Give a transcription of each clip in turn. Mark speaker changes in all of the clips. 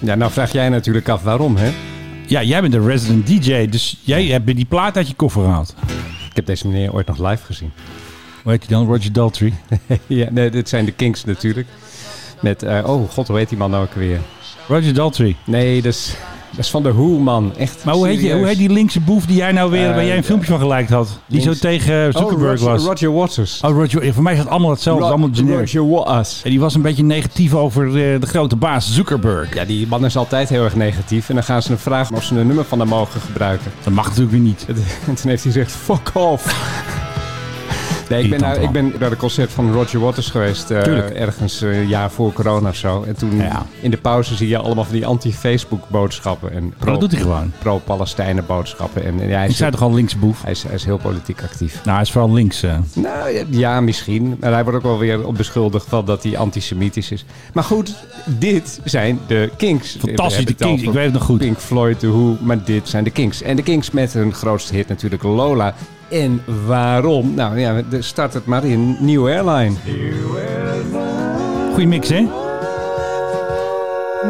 Speaker 1: Ja, nou vraag jij natuurlijk af waarom, hè?
Speaker 2: Ja, jij bent de resident DJ, dus jij hebt die plaat uit je koffer gehaald.
Speaker 1: Ik heb deze meneer ooit nog live gezien.
Speaker 2: Hoe heet die dan? Roger Daltrey.
Speaker 1: ja, nee, dit zijn de Kings natuurlijk. Met, eh, oh god, hoe heet die man nou ook weer?
Speaker 2: Roger Daltrey.
Speaker 1: Nee, dat is, dat is van de Hoe, man. Echt
Speaker 2: Maar hoe heet, je, hoe heet die linkse boef die jij nou weer, waar jij een
Speaker 1: Eh,
Speaker 2: filmpje van gelijk had? Die
Speaker 1: links-
Speaker 2: zo tegen Zuckerberg
Speaker 1: oh, Roger,
Speaker 2: was.
Speaker 1: Roger Waters.
Speaker 2: Oh, Roger. Voor mij is het allemaal hetzelfde,
Speaker 1: Ro-
Speaker 2: allemaal generic.
Speaker 1: Roger Waters.
Speaker 2: En die was een beetje negatief over eh, de grote baas Zuckerberg.
Speaker 1: Ja, die man is altijd heel erg negatief. En dan gaan ze hem vragen of ze een nummer van hem mogen gebruiken.
Speaker 2: Dat mag natuurlijk weer niet.
Speaker 1: En toen heeft hij gezegd, fuck off. Nee, ik ben,
Speaker 2: Irritant,
Speaker 1: nou, ik ben naar een concert van Roger Waters geweest. eh,
Speaker 2: Tuurlijk.
Speaker 1: ergens eh, een jaar voor corona of zo. En toen
Speaker 2: Ja.
Speaker 1: in de pauze zie je allemaal van die anti-Facebook boodschappen. En
Speaker 2: Maar
Speaker 1: pro,
Speaker 2: dat doet hij gewoon.
Speaker 1: pro-Palestijnen boodschappen. En, en ja, hij,
Speaker 2: Ik
Speaker 1: is,
Speaker 2: zei toch al linkse boef?
Speaker 1: hij, is, hij is heel politiek actief.
Speaker 2: Nou, hij is vooral links. eh.
Speaker 1: Nou ja, ja, misschien. Maar hij wordt ook wel weer op beschuldigd van dat hij antisemitisch is. Maar goed, dit zijn de Kinks. We
Speaker 2: Fantastisch,
Speaker 1: hebben
Speaker 2: de
Speaker 1: het al
Speaker 2: Kings. Ik
Speaker 1: voor-
Speaker 2: weet het nog goed.
Speaker 1: Pink Floyd, The Who, maar dit zijn de Kings. En de Kings met hun grootste hit natuurlijk Lola. En waarom? Nou ja, de- start het maar in New Airline.
Speaker 2: Goeie mix, hè? Nou,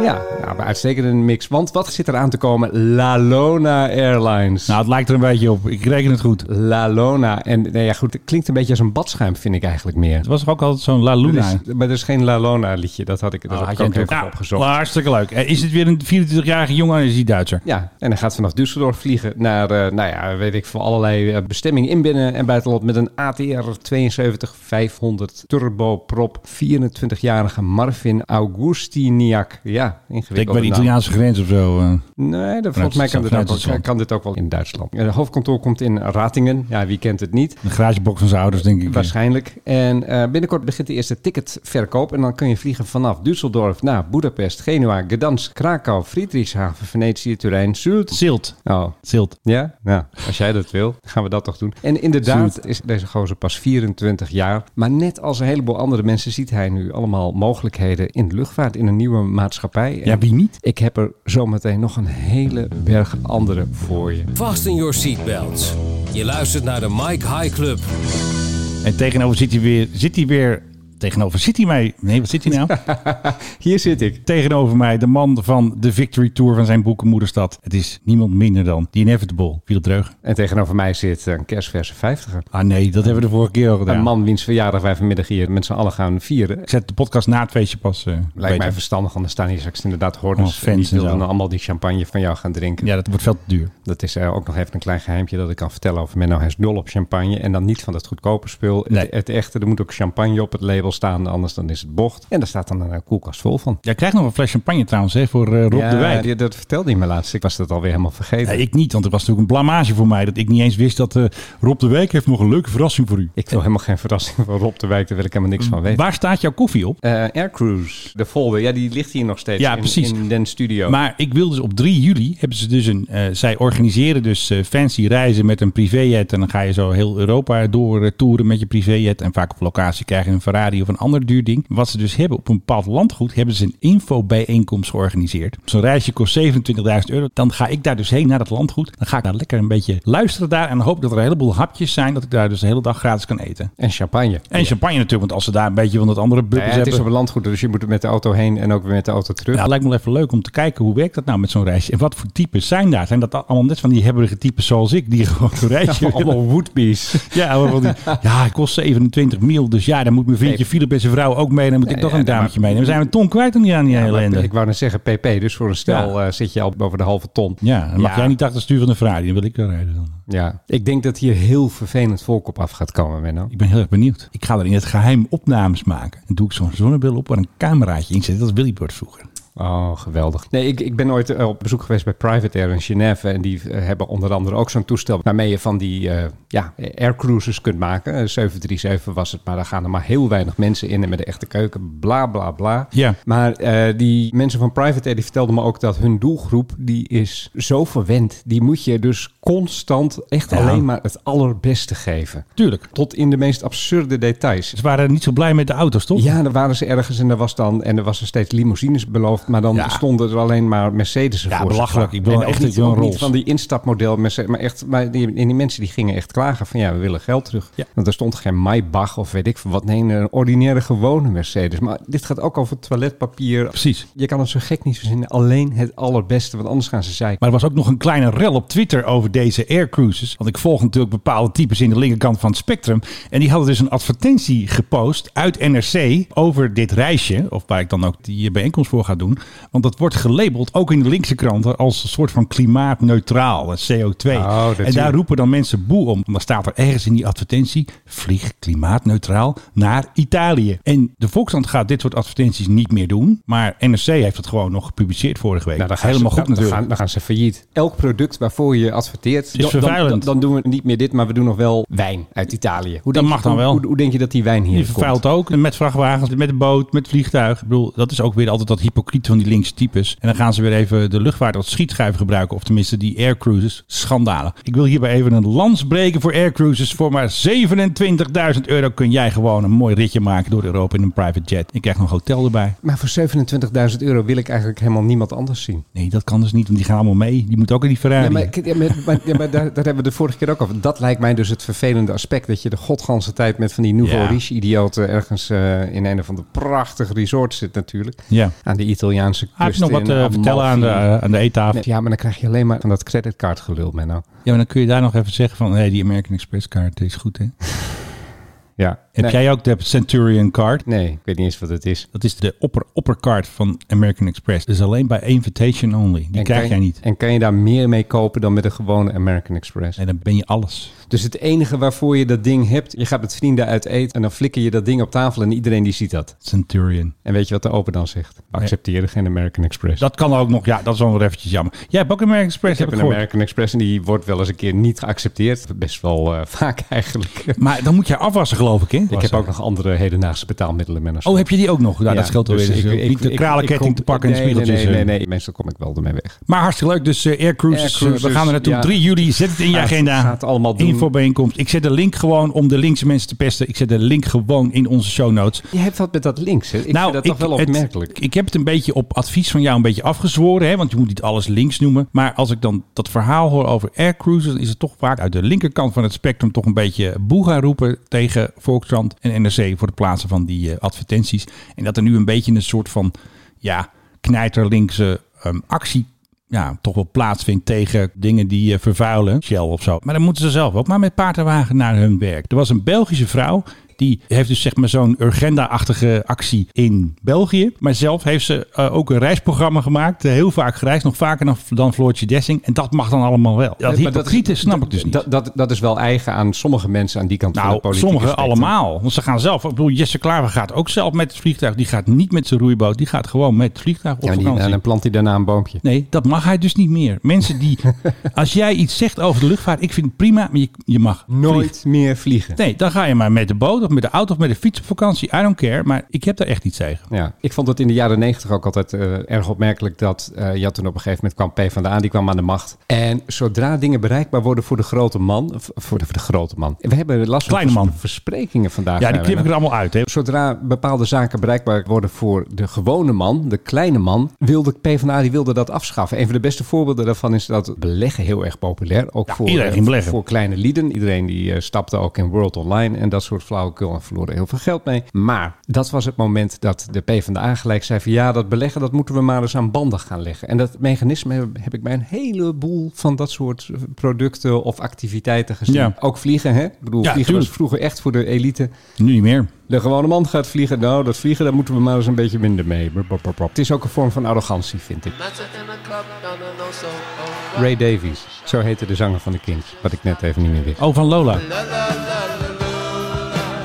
Speaker 1: Ja, nou, een uitstekende mix. Want wat zit er aan te komen? La Lona Airlines.
Speaker 2: Nou, het lijkt er een beetje op. Ik reken het goed.
Speaker 1: La Lona. En nou ja, goed, het klinkt een beetje als een badschuim, vind ik eigenlijk meer.
Speaker 2: Het was toch ook altijd zo'n La Luna?
Speaker 1: Er is- maar er is geen La Lona liedje. Dat had ik, dat
Speaker 2: Ah,
Speaker 1: had
Speaker 2: had
Speaker 1: ik
Speaker 2: jij
Speaker 1: ook
Speaker 2: natuurlijk-
Speaker 1: even
Speaker 2: Nou,
Speaker 1: opgezocht.
Speaker 2: Hartstikke leuk. Eh, Is het weer een 24-jarige jongen en is hij Duitser?
Speaker 1: Ja, en hij gaat vanaf Düsseldorf vliegen naar, eh, nou ja, weet ik veel, allerlei eh, bestemmingen in binnen- en buitenland met een ATR 72500 turboprop 24-jarige Marvin Augustiniak. Ja,
Speaker 2: Ik denk
Speaker 1: ingewikkeld.
Speaker 2: bij de Italiaanse grens of zo. eh.
Speaker 1: Nee, dat, volgens mij
Speaker 2: het-
Speaker 1: kan dit,
Speaker 2: vanuit
Speaker 1: ook,
Speaker 2: het
Speaker 1: wel- kan dit ook wel in Duitsland. Het hoofdkantoor komt in Ratingen. Ja, wie kent het niet?
Speaker 2: De garagebox van zijn ouders, denk ik.
Speaker 1: Waarschijnlijk. En eh, binnenkort begint de eerste ticketverkoop. En dan kun je vliegen vanaf Düsseldorf naar Budapest, Genua, Gdansk, Krakau, Friedrichshaven, Venetië, Turijn, Zult.
Speaker 2: Zilt.
Speaker 1: Oh,
Speaker 2: Zilt.
Speaker 1: ja, nou, als jij dat wil, gaan we dat toch doen. En inderdaad is deze gozer pas 24 jaar. Maar net als een heleboel andere mensen ziet hij nu allemaal mogelijkheden in de luchtvaart, in een nieuwe maatschappij. En
Speaker 2: Ja, wie niet?
Speaker 1: Ik heb er zometeen nog een hele berg andere voor je.
Speaker 3: Fasten your seatbelts. Je luistert naar de Mike High Club.
Speaker 2: En tegenover zit hij weer... Zit hij weer... Tegenover zit hij mij... Nee, wat zit hij nou?
Speaker 1: Hier zit ik.
Speaker 2: tegenover mij de man van de Victory Tour van zijn boeken Moederstad. Het is niemand minder dan The Inevitable, Viel Dreug.
Speaker 1: En tegenover mij zit een kerstverse vijftiger.
Speaker 2: Ah nee, dat hebben we de vorige keer al gedaan.
Speaker 1: Een man wiens verjaardag wij vanmiddag hier met z'n allen gaan vieren.
Speaker 2: Ik zet de podcast na het feestje pas. eh,
Speaker 1: Lijkt
Speaker 2: beter.
Speaker 1: mij verstandig, want er staan hier straks inderdaad hoorders.
Speaker 2: Allemaal
Speaker 1: en
Speaker 2: fans
Speaker 1: die
Speaker 2: en
Speaker 1: willen
Speaker 2: zo.
Speaker 1: dan allemaal die champagne van jou gaan drinken.
Speaker 2: Ja, dat wordt veel te duur.
Speaker 1: Dat is eh, ook nog even een klein geheimtje dat ik kan vertellen over Menno. Hij is dol op champagne en dan niet van dat goedkope spul.
Speaker 2: Nee.
Speaker 1: Het, het echte, er moet ook champagne op het label staan, anders dan is het bocht. En daar staat dan een eh, koelkast vol van.
Speaker 2: Jij krijgt nog een fles champagne trouwens hè, voor eh, Rob
Speaker 1: Ja,
Speaker 2: de Wijk.
Speaker 1: die- dat vertelde hij me laatst. Ik was dat alweer helemaal vergeten.
Speaker 2: ik niet, want het was natuurlijk een blamage voor mij dat ik niet eens wist dat eh, Rob de Wijk heeft nog een leuke verrassing voor u.
Speaker 1: Ik wil helemaal geen verrassing van Rob de Wijk, daar wil ik helemaal niks van weten.
Speaker 2: Waar staat jouw koffie op?
Speaker 1: Eh, Air Cruise, de folder, ja, die ligt hier nog steeds
Speaker 2: Ja,
Speaker 1: in,
Speaker 2: precies.
Speaker 1: in den studio.
Speaker 2: Maar ik wil dus op 3 juli hebben ze dus een. eh, zij organiseren dus eh, fancy reizen met een privéjet. En dan ga je zo heel Europa door eh, toeren met je privéjet. En vaak op locatie krijg je een Ferrari of een ander duur ding. Wat ze dus hebben op een bepaald landgoed, hebben ze een infobijeenkomst georganiseerd. Zo'n reisje kost 27.000 euro. Dan ga ik daar dus heen naar dat landgoed. Dan ga ik daar lekker een beetje luisteren daar. En dan hoop ik dat er een heleboel hapjes zijn. Dat ik daar dus de hele dag gratis kan eten.
Speaker 1: En champagne.
Speaker 2: En champagne natuurlijk, want als ze daar een beetje van dat andere bubbels
Speaker 1: Ja, het
Speaker 2: hebben.
Speaker 1: is op een landgoed, dus je moet er met de auto heen en ook weer met de auto terug.
Speaker 2: Ja, het lijkt me wel even leuk om te kijken hoe werkt dat nou met zo'n reisje. En wat voor types zijn daar? Zijn dat dan allemaal net van die hebberige types zoals ik, die gewoon een reisje willen?
Speaker 1: allemaal woodbees.
Speaker 2: Ja, maar van die, ja, het kost 27 mil, dus ja, dan moet mijn vriendje
Speaker 1: Nee.
Speaker 2: Philip en zijn vrouw ook mee. Dan moet ik
Speaker 1: Ja,
Speaker 2: toch
Speaker 1: ja,
Speaker 2: een
Speaker 1: nee,
Speaker 2: dametje
Speaker 1: maar-
Speaker 2: mee. Dan zijn we een ton kwijt aan die, aan die hele
Speaker 1: Maar
Speaker 2: ellende.
Speaker 1: Ik wou net zeggen PP, dus voor een stel eh, zit je al boven de halve ton.
Speaker 2: Ja, dan mag
Speaker 1: Ja.
Speaker 2: jij niet achter het stuur van de Ferrari, dan wil ik wel rijden dan.
Speaker 1: Ja, ik denk dat hier heel vervelend volk op af gaat komen, Menno.
Speaker 2: Ik ben heel erg benieuwd. Ik ga er in het geheim opnames maken. En doe ik zo'n zonnebril op waar een cameraatje in zit. Dat is Willybird vroeger.
Speaker 1: Oh, geweldig. Nee, ik, ik ben ooit eh, op bezoek geweest bij Private Air in Genève. En die eh, hebben onder andere ook zo'n toestel waarmee je van die eh ja, aircruises kunt maken. Eh, 737 was het, maar daar gaan er maar heel weinig mensen in en met een echte keuken. Bla, bla, bla.
Speaker 2: Ja.
Speaker 1: Maar eh, die mensen van Private Air die vertelden me ook dat hun doelgroep, die is zo verwend. Die moet je dus constant echt
Speaker 2: Ja.
Speaker 1: alleen maar het allerbeste geven.
Speaker 2: Tuurlijk.
Speaker 1: Tot in de meest absurde details.
Speaker 2: Ze waren niet zo blij met de auto's, toch?
Speaker 1: Ja, daar waren ze ergens en er was dan en er was er steeds limousines beloofd gekocht. Maar dan
Speaker 2: Ja.
Speaker 1: stonden er alleen maar Mercedes voor.
Speaker 2: belachelijk. Ik wil
Speaker 1: en
Speaker 2: echt-
Speaker 1: ook
Speaker 2: ik
Speaker 1: niet,
Speaker 2: wil een
Speaker 1: ook niet
Speaker 2: Rolls.
Speaker 1: van die instapmodel Mercedes. Maar echt, maar die, en die mensen die gingen echt klagen van ja, we willen geld terug.
Speaker 2: Ja.
Speaker 1: Want er stond geen Maybach of weet ik veel wat. Nee, een ordinaire gewone Mercedes. Maar dit gaat ook over toiletpapier.
Speaker 2: Precies.
Speaker 1: Je kan het zo gek niet verzinnen. Alleen het allerbeste, want anders gaan ze zeiken.
Speaker 2: Maar er was ook nog een kleine rel op Twitter over deze aircruises. Want ik volg natuurlijk bepaalde types in de linkerkant van het spectrum. En die hadden dus een advertentie gepost uit NRC over dit reisje. Of waar ik dan ook die bijeenkomst voor ga doen. Want dat wordt gelabeld, ook in de linkse kranten, als een soort van klimaatneutraal. eh, en
Speaker 1: Oh,
Speaker 2: CO2. en daar
Speaker 1: natuurlijk.
Speaker 2: roepen dan mensen boe om. Want dan staat er ergens in die advertentie, vlieg klimaatneutraal naar Italië. En de Volkskrant gaat dit soort advertenties niet meer doen. Maar NRC heeft het gewoon nog gepubliceerd vorige week.
Speaker 1: Nou, dan gaan
Speaker 2: Helemaal
Speaker 1: ze,
Speaker 2: goed
Speaker 1: dan, dan
Speaker 2: natuurlijk.
Speaker 1: gaan, dan gaan ze failliet. Elk product waarvoor je adverteert,
Speaker 2: Is
Speaker 1: dan, dan,
Speaker 2: vervuilend.
Speaker 1: dan, dan doen we niet meer dit, maar we doen nog wel wijn uit Italië. Hoe
Speaker 2: Dat
Speaker 1: denk
Speaker 2: mag
Speaker 1: je,
Speaker 2: dan
Speaker 1: hoe-
Speaker 2: wel.
Speaker 1: Hoe, hoe denk je dat die wijn hier
Speaker 2: Die
Speaker 1: komt?
Speaker 2: vervuilt ook. Met vrachtwagens, met de boot, met vliegtuig. Ik bedoel, dat is ook weer altijd dat hypocriet van die linkse types. En dan gaan ze weer even de luchtvaart als schietschuif gebruiken. Of tenminste die aircruises. Schandalen. Ik wil hierbij even een lans breken voor aircruises. Voor maar 27.000 euro kun jij gewoon een mooi ritje maken door Europa in een private jet. Ik krijg nog hotel erbij.
Speaker 1: Maar voor 27.000 euro wil ik eigenlijk helemaal niemand anders zien.
Speaker 2: Nee, dat kan dus niet, want die gaan allemaal mee. Die moet ook in die Ferrari.
Speaker 1: Ja, maar, ik- ja, maar, maar- ja, maar daar, daar hebben we de vorige keer ook over. Dat lijkt mij dus het vervelende aspect. Dat je de godganse tijd met van die nouveau
Speaker 2: Ja.
Speaker 1: riche idioten ergens eh, in een van de prachtige resorts zit natuurlijk.
Speaker 2: Ja.
Speaker 1: Aan de Italiaanse kust.
Speaker 2: Hij heeft nog wat
Speaker 1: Dus in
Speaker 2: te
Speaker 1: Amalfi.
Speaker 2: vertellen aan de, eh, aan de eettafel.
Speaker 1: Nee, ja, maar dan krijg je alleen maar van dat creditcardgelul, Menno.
Speaker 2: Ja, maar dan kun je daar nog even zeggen van... hey, die American Express kaart is goed, hè?
Speaker 1: Ja.
Speaker 2: Heb
Speaker 1: nee,
Speaker 2: jij ook de Centurion kaart?
Speaker 1: nee, ik weet niet eens wat het is.
Speaker 2: Dat is de opper opperkaart van American Express. Dus alleen bij invitation only. Die
Speaker 1: En
Speaker 2: krijg
Speaker 1: kan-
Speaker 2: jij niet.
Speaker 1: En kan je daar meer mee kopen dan met een gewone American Express?
Speaker 2: En dan ben je alles.
Speaker 1: Dus het enige waarvoor je dat ding hebt, je gaat met vrienden uit eten en dan flikker je dat ding op tafel en iedereen die ziet dat.
Speaker 2: Centurion.
Speaker 1: En weet je wat de open dan zegt? We accepteren geen American Express.
Speaker 2: Dat kan ook nog. Ja, dat is wel weer eventjes jammer. Jij hebt ook American Express,
Speaker 1: ik heb
Speaker 2: heb ik
Speaker 1: een
Speaker 2: gehoord.
Speaker 1: American Express en die wordt wel eens een keer niet geaccepteerd. Best wel eh, vaak eigenlijk.
Speaker 2: Maar dan moet jij afwassen, geloof ik, hè?
Speaker 1: Ik heb ook nog andere hedendaagse betaalmiddelen. Menno.
Speaker 2: Oh, heb je die ook nog? Nou, dat scheelt alweer.
Speaker 1: dus
Speaker 2: Dus
Speaker 1: ik- ik-
Speaker 2: niet de
Speaker 1: ik-
Speaker 2: kralenketting
Speaker 1: ik kom-
Speaker 2: te pakken en de
Speaker 1: nee,
Speaker 2: spiegeltjes.
Speaker 1: Nee, nee,
Speaker 2: eh.
Speaker 1: nee, Meestal kom ik wel ermee weg.
Speaker 2: Maar hartstikke leuk. Dus eh, Air Cruises, eh,
Speaker 1: Cruises,
Speaker 2: we gaan er naartoe.
Speaker 1: ja.
Speaker 2: 3 juli, zet het in je
Speaker 1: Gaat-
Speaker 2: agenda.
Speaker 1: gaat allemaal doen.
Speaker 2: Infobijeenkomst. Ik zet de link gewoon om de linkse mensen te pesten. Ik zet de link gewoon in onze show notes.
Speaker 1: Je hebt wat met dat links. Hè? Ik vind dat toch wel
Speaker 2: het-
Speaker 1: opmerkelijk.
Speaker 2: Nou, ik heb het een beetje op advies van jou een beetje afgezworen. Hè, want je moet niet alles links noemen. Maar als ik dan dat verhaal hoor over aircruises... dan is het toch vaak uit de linkerkant van het spectrum... toch een beetje boe gaan roepen tegen Volkskrant en NRC... voor het plaatsen van die eh, advertenties. En dat er nu een beetje een soort van ja, knijterlinkse ehm, actie... Ja, toch wel plaatsvindt tegen dingen die eh, vervuilen. Shell of zo. Maar dan moeten ze zelf ook maar met paard en wagen naar hun werk. Er was een Belgische vrouw die heeft dus zeg maar zo'n Urgenda-achtige actie in België. Maar zelf heeft ze eh, ook een reisprogramma gemaakt. eh, heel vaak gereisd, nog vaker dan, dan Floortje Dessing. En dat mag dan allemaal wel. Dat
Speaker 1: Nee, maar dat-
Speaker 2: hypocriete snap ik dus niet.
Speaker 1: Dat, dat, dat is wel eigen aan sommige mensen aan die kant van de
Speaker 2: nou,
Speaker 1: politiek.
Speaker 2: sommigen allemaal. Want ze gaan zelf. Ik bedoel, Jesse Klaver gaat ook zelf met het vliegtuig. Die gaat niet met zijn roeiboot. Die gaat gewoon met het vliegtuig op
Speaker 1: Ja, maar die- nou,
Speaker 2: vakantie.
Speaker 1: en dan plant hij daarna een boompje.
Speaker 2: Nee, dat mag hij dus niet meer. Mensen die... als jij iets zegt over de luchtvaart, ik vind het prima, maar je, je mag vliegen.
Speaker 1: Nooit meer vliegen.
Speaker 2: Nee, dan ga je maar met de boot of met de auto of met de fiets op vakantie. I don't care, maar ik heb daar echt iets tegen.
Speaker 1: Ja, ik vond het in de jaren negentig ook altijd eh, erg opmerkelijk dat eh, je had toen op een gegeven moment kwam P van de A, die kwam aan de macht. En zodra dingen bereikbaar worden voor de grote man, v- voor de, voor de grote man. We hebben last van
Speaker 2: Kleine
Speaker 1: vers-
Speaker 2: man.
Speaker 1: versprekingen vandaag.
Speaker 2: Ja, die
Speaker 1: hebben
Speaker 2: knip ik
Speaker 1: we.
Speaker 2: er allemaal uit. Hè.
Speaker 1: Zodra bepaalde zaken bereikbaar worden voor de gewone man, de kleine man, wilde PvdA die wilde dat afschaffen. Een van de beste voorbeelden daarvan is dat begleggen heel erg populair. Ook voor,
Speaker 2: iedereen
Speaker 1: eh,
Speaker 2: ging beleggen.
Speaker 1: voor kleine lieden. Iedereen die eh, stapte ook in World Online en dat soort flauwekul en verloren heel veel geld mee. Maar dat was het moment dat de PvdA gelijk zei van ja, dat beleggen dat moeten we maar eens aan banden gaan leggen. En dat mechanisme heb, heb ik bij een heleboel van dat soort eh, producten of activiteiten gezien.
Speaker 2: Ja.
Speaker 1: Ook vliegen, hè? Ik bedoel,
Speaker 2: Ja,
Speaker 1: vliegen
Speaker 2: tuurlijk.
Speaker 1: was vroeger echt voor de elite.
Speaker 2: Nu niet meer.
Speaker 1: De gewone man gaat vliegen. Nou, dat vliegen, daar moeten we maar eens een beetje minder mee. Bop, bop, bop, bop. Het is ook een vorm van arrogantie, vind ik. Ray Davies, zo heette de zanger van de Kings. Wat ik net even niet meer wist.
Speaker 2: Oh, van Lola.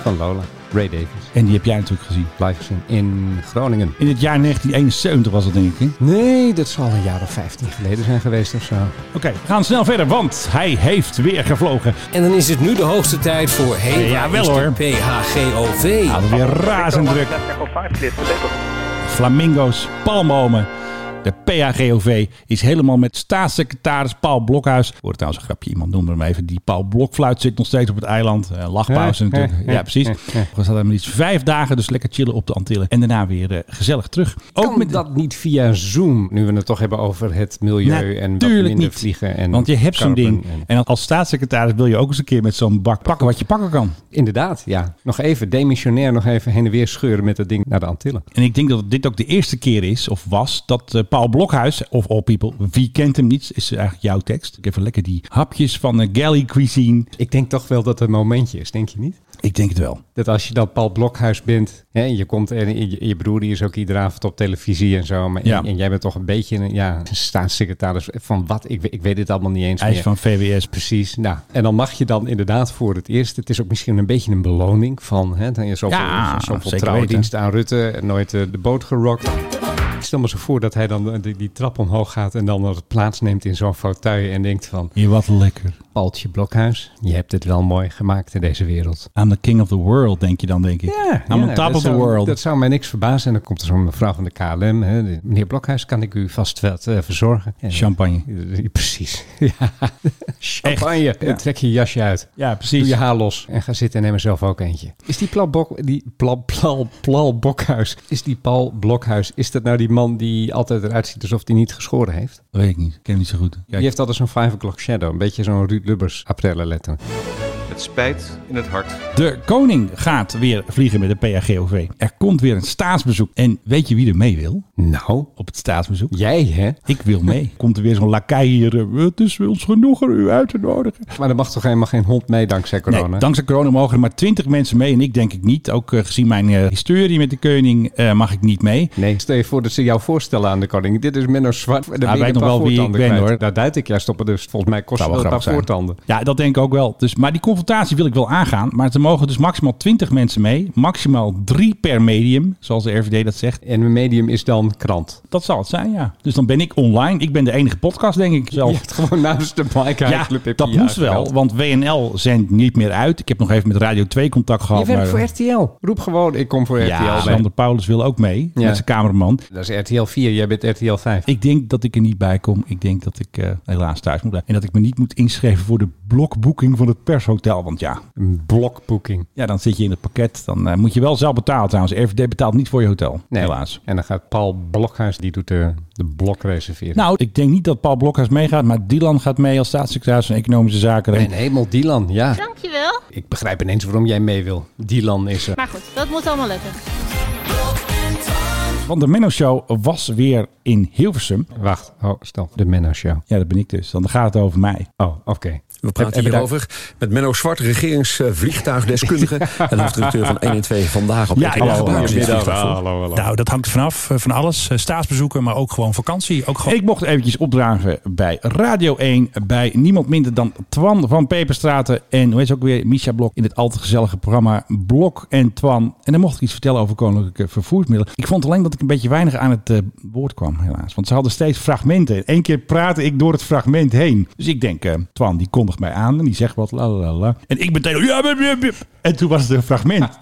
Speaker 1: Van Lola, Ray Davies.
Speaker 2: En die heb jij natuurlijk gezien.
Speaker 1: Live gezien in Groningen.
Speaker 2: In het jaar 1971 was dat denk ik. hè?
Speaker 1: Nee, dat zal een jaar of 15 geleden zijn geweest of zo.
Speaker 2: Oké, we gaan snel verder, want hij heeft weer gevlogen.
Speaker 3: En dan is het nu de hoogste tijd voor... Hey,
Speaker 2: Ja,
Speaker 3: waar
Speaker 2: wel
Speaker 3: is de
Speaker 2: hoor.
Speaker 3: PHGOV.
Speaker 4: Nou,
Speaker 2: Hadden weer razend druk. Flamingo's, palmomen. De PAGOV is helemaal met staatssecretaris Paul Blokhuis. Wordt trouwens een grapje, iemand noemde hem even. Die Paul Blokfluit zit nog steeds op het eiland. Eh, lachpauze
Speaker 1: Ja,
Speaker 2: natuurlijk.
Speaker 1: ja,
Speaker 2: Ja,
Speaker 1: ja,
Speaker 2: precies.
Speaker 1: ja, ja.
Speaker 2: We zaten maar iets vijf dagen, dus lekker chillen op de Antillen. En daarna weer eh, gezellig terug. Ook
Speaker 1: Kan dat niet via Zoom, nu we het toch hebben over het milieu en wat
Speaker 2: Natuurlijk
Speaker 1: minder
Speaker 2: niet.
Speaker 1: vliegen? En
Speaker 2: Want je hebt zo'n
Speaker 1: carbon
Speaker 2: ding.
Speaker 1: en-
Speaker 2: En als staatssecretaris wil je ook eens een keer met zo'n bak pakken wat je pakken kan.
Speaker 1: Inderdaad, ja. Nog even demissionair, nog even heen en weer scheuren met dat ding naar de Antillen.
Speaker 2: En ik denk dat dit ook de eerste keer is, of was, dat eh, Paul Blokhuis, of All People, wie kent hem niet, is eigenlijk jouw tekst. Ik heb even lekker die hapjes van eh, galley cuisine.
Speaker 1: Ik denk toch wel dat het een momentje is, denk je niet?
Speaker 2: Ik denk het wel.
Speaker 1: Dat als je dan Paul Blokhuis bent, hè, en je komt en je, je broer die is ook iedere avond op televisie en zo. Maar en-
Speaker 2: Ja.
Speaker 1: en, jij bent toch een beetje een ja, staatssecretaris van wat? Ik, we- ik weet het allemaal niet eens
Speaker 2: Hij is
Speaker 1: meer.
Speaker 2: van VWS.
Speaker 1: Precies. Nou, en dan mag je dan inderdaad voor het eerst. Het is ook misschien een beetje een beloning van. Hè, dan je zoveel,
Speaker 2: Ja,
Speaker 1: zoveel
Speaker 2: zeker
Speaker 1: trouwdienst aan Rutte. en Nooit eh, de boot gerokt. Ik stel me zo voor dat hij dan eh, die, die trap omhoog gaat. En dan dat plaatsneemt in zo'n fauteuil. En denkt van,
Speaker 2: Je wat lekker.
Speaker 1: Paltje Blokhuis, je hebt het wel mooi gemaakt in deze wereld.
Speaker 2: I'm the king of the world, denk je dan, denk ik. I'm on
Speaker 1: ja,
Speaker 2: top
Speaker 1: dat
Speaker 2: of the
Speaker 1: zou-
Speaker 2: world.
Speaker 1: Dat zou mij niks verbazen. En dan komt er zo'n mevrouw van de KLM. Hè. de- Meneer Blokhuis, kan ik u vast wat eh, verzorgen? En-
Speaker 2: Champagne.
Speaker 1: Ja, Precies. Ja. Champagne. En Trek je jasje uit.
Speaker 2: Ja,
Speaker 1: Doe
Speaker 2: precies.
Speaker 1: je haar los en ga zitten en neem er zelf ook eentje. Is die Plal Bok, die Plal, Plal, Plal Bokhuis, is die Paul Blokhuis, is dat nou die man die altijd eruit ziet alsof hij niet geschoren heeft?
Speaker 2: Dat weet ik niet. Ik ken hem niet zo goed.
Speaker 1: Die heeft altijd zo'n 5 o'clock shadow, een beetje zo'n Ruud Lubbers aprellen letter.
Speaker 5: Het spijt in het hart.
Speaker 2: De koning gaat weer vliegen met de PAGOV. Er komt weer een staatsbezoek. En weet je wie er mee wil
Speaker 1: Nou,
Speaker 2: op het staatsbezoek?
Speaker 1: jij hè?
Speaker 2: Ik wil mee. Komt er weer zo'n lakai hier. eh, Het is ons genoegen u uit te nodigen.
Speaker 1: Maar er mag toch helemaal geen hond mee dankzij corona?
Speaker 2: Nee, dankzij corona mogen er maar twintig mensen mee. En ik denk ik niet. Ook eh, gezien mijn eh, historie met de koning eh, mag ik niet mee.
Speaker 1: Nee, Nou, stel je voor dat ze jou voorstellen aan de koning. Dit is Menno Zwart. Dan ben je
Speaker 2: weet
Speaker 1: een
Speaker 2: nog
Speaker 1: paar
Speaker 2: wel wie ik
Speaker 1: voortanden
Speaker 2: ben,
Speaker 1: kwijt.
Speaker 2: hoor.
Speaker 1: Daar duid ik juist op. Dus volgens mij kost
Speaker 2: Zou
Speaker 1: het
Speaker 2: wel
Speaker 1: wel een paar
Speaker 2: grappig zijn.
Speaker 1: voortanden.
Speaker 2: Ja, dat denk ik ook wel. Dus, maar die confrontatie wil ik wel aangaan. Maar er mogen dus maximaal 20 mensen mee. Maximaal drie per medium, zoals de RVD dat zegt.
Speaker 1: En mijn medium is dan krant.
Speaker 2: Dat zal het zijn, ja. Dus dan ben ik online. Ik ben de enige podcast, denk ik zelf.
Speaker 1: Je hebt gewoon namens de Mike
Speaker 2: Ja,
Speaker 1: Club heb je
Speaker 2: dat
Speaker 1: je
Speaker 2: moest wel,
Speaker 1: aangemeld.
Speaker 2: want WNL zendt niet meer uit. Ik heb nog even met Radio 2 contact gehad.
Speaker 1: Je werkt voor
Speaker 2: maar- eh,
Speaker 1: RTL. eh, Roep gewoon, ik kom voor
Speaker 2: ja,
Speaker 1: RTL. bij.
Speaker 2: Sander Paulus wil ook mee,
Speaker 1: Ja.
Speaker 2: met zijn cameraman.
Speaker 1: Dat is RTL 4, jij bent RTL 5.
Speaker 2: Ik denk dat ik er niet bij kom. Ik denk dat ik eh, helaas thuis moet blijven. En dat ik me niet moet inschrijven voor de blokboeking van het pershotel. Want ja,
Speaker 1: Een blokboeking.
Speaker 2: ja dan zit je in het pakket. Dan eh, moet je wel zelf betalen trouwens. RVD betaalt niet voor je hotel,
Speaker 1: Nee.
Speaker 2: helaas.
Speaker 1: En dan gaat Paul Blokhuis, die doet de, de blok reserveren.
Speaker 2: Nou, ik denk niet dat Paul Blokhuis meegaat, maar Dylan gaat mee als staatssecretaris van Economische Zaken.
Speaker 1: en hemel, Dylan, ja.
Speaker 6: Dankjewel.
Speaker 1: Ik begrijp ineens waarom jij mee wil. Dylan is eh, er.
Speaker 6: Maar goed, dat moet allemaal lukken.
Speaker 2: Want de Menno Show was weer in Hilversum.
Speaker 1: Wacht, oh, stop. De Menno Show.
Speaker 2: Ja, dat ben ik dus. Dan gaat het over mij.
Speaker 1: Oh, oké.
Speaker 4: We praten
Speaker 1: Heb- heb je
Speaker 4: hierover met Menno Zwart, regeringsvliegtuigdeskundige en hoofdredacteur van 1 en 2 vandaag op
Speaker 2: Ja,
Speaker 4: RTL
Speaker 2: hallo,
Speaker 4: Gebouw.
Speaker 2: hallo,
Speaker 4: Zit
Speaker 1: daar- Ah,
Speaker 4: vliegtuig voor.
Speaker 1: hallo, hallo.
Speaker 7: Nou, dat hangt er vanaf. eh, Van alles. Eh, Staatsbezoeken, maar ook gewoon vakantie. Ook gewoon...
Speaker 2: Ik mocht eventjes opdragen bij Radio 1, bij niemand minder dan Twan van Peperstraten en hoe heet ze ook weer, Misha Blok in het al te gezellige programma Blok en Twan. En dan mocht ik iets vertellen over koninklijke vervoersmiddelen. Ik vond alleen dat ik een beetje weinig aan het eh, woord kwam, helaas. Want ze hadden steeds fragmenten. Eén keer praatte ik door het fragment heen. Dus ik denk, eh, Twan die kondigt mij aan en die zegt wat, la la la, la. En ik meteen, ja, ja, ja, ja. en toen was het een fragment.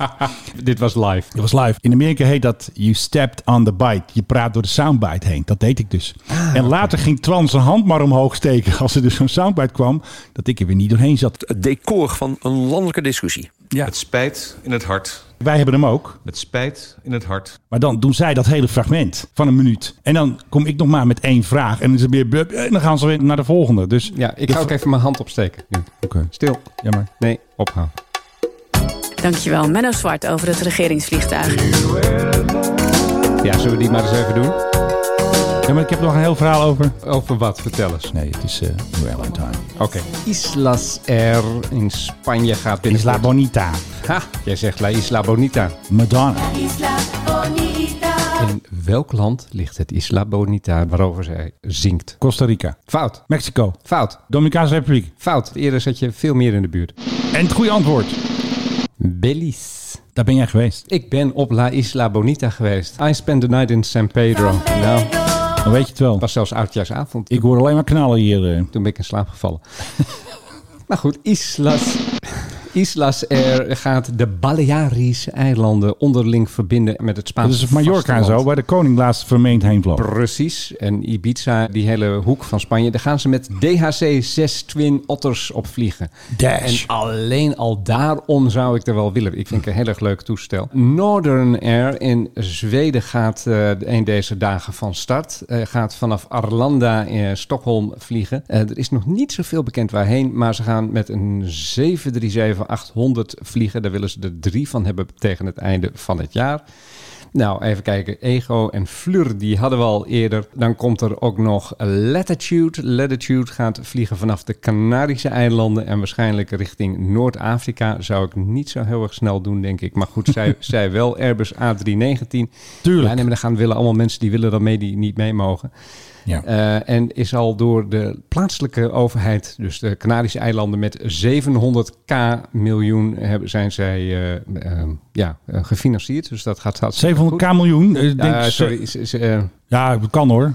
Speaker 1: Dit was live.
Speaker 2: Dat was live. In Amerika heet dat You stepped on the bite. Je praat door de soundbite heen. Dat deed ik dus. en later ging Twan zijn hand maar omhoog steken als er dus zo'n soundbite kwam. Dat ik er weer niet doorheen zat.
Speaker 4: Het decor van een landelijke discussie.
Speaker 5: Het spijt in het hart.
Speaker 2: Wij hebben hem ook.
Speaker 5: Het spijt in het hart.
Speaker 2: Maar dan doen zij dat hele fragment van een minuut. En dan kom ik nog maar met één vraag. En dan, is het weer, blub, en dan gaan ze weer naar de volgende. Dus
Speaker 1: Ja, ik ga ook even mijn hand opsteken. Nu.
Speaker 2: Oké.
Speaker 1: Stil.
Speaker 2: jammer.
Speaker 1: Nee, ophouden.
Speaker 8: Dankjewel, Menno Zwart over het regeringsvliegtuig.
Speaker 1: Ja, zullen we die maar eens even doen?
Speaker 2: Ja, maar ik heb nog een heel verhaal over.
Speaker 1: Over wat? Vertel eens.
Speaker 2: Nee, het is eh New Island Time.
Speaker 1: Oké. Islas R in Spanje gaat binnen.
Speaker 2: Isla Bonita.
Speaker 1: Ha, jij zegt La Isla Bonita.
Speaker 2: Madonna.
Speaker 1: In welk land ligt het Isla Bonita waarover zij zingt?
Speaker 2: Costa Rica.
Speaker 1: Fout.
Speaker 2: Mexico.
Speaker 1: Fout.
Speaker 2: Dominicaanse Republiek.
Speaker 1: Fout. Eerder zat je veel meer in de buurt.
Speaker 2: En het goede antwoord.
Speaker 1: Belize.
Speaker 2: Daar ben jij geweest.
Speaker 1: Ik ben op La Isla Bonita geweest. I spent the night in San Pedro. Nou, het
Speaker 2: Dan weet je het wel.
Speaker 1: was zelfs oudjaarsavond.
Speaker 2: Ik
Speaker 1: Ah,
Speaker 2: hoor alleen maar knallen hier. eh.
Speaker 1: Toen ben ik in slaap gevallen. maar goed, Nou Islas, Islas Air gaat de Balearische eilanden onderling verbinden met het
Speaker 2: Dat
Speaker 1: Spaanse
Speaker 2: is op Mallorca en zo,
Speaker 1: vasteland.
Speaker 2: waar de koning laatst vermeend heen vloog.
Speaker 1: Precies. En Ibiza, die hele hoek van Spanje, daar gaan ze met DHC 6 Twin Otters op vliegen.
Speaker 2: Dash.
Speaker 1: En alleen al daarom zou ik er wel willen. Ik vind het een heel erg leuk toestel. Northern Air in Zweden gaat eh, een deze dagen van start. Eh, gaat vanaf Arlanda in Stockholm vliegen. Eh, er is nog niet zoveel bekend waarheen, maar ze gaan met een 737-800 vliegen. Daar willen ze er drie van hebben tegen het einde van het jaar. Nou, even kijken. Ego en Fleur, die hadden we al eerder. Dan komt er ook nog Latitude. Latitude gaat vliegen vanaf de Canarische eilanden en waarschijnlijk richting Noord-Afrika. Zou ik niet zo heel erg snel doen, denk ik. Maar goed, zij, zij wel. Airbus A319.
Speaker 2: Tuurlijk.
Speaker 1: Ja, nee, maar dan gaan willen allemaal mensen die willen dan mee, die niet mee mogen.
Speaker 2: Ja.
Speaker 1: Eh, en is al door de plaatselijke overheid, dus de Canarische eilanden, met 700k miljoen hebben, zijn zij eh, eh, ja, eh, gefinancierd. Dus dat gaat hartstikke goed.
Speaker 2: 700k miljoen. eh, denk
Speaker 1: Ja,
Speaker 2: ik,
Speaker 1: sorry. is- is, eh,
Speaker 2: Ja, dat kan hoor.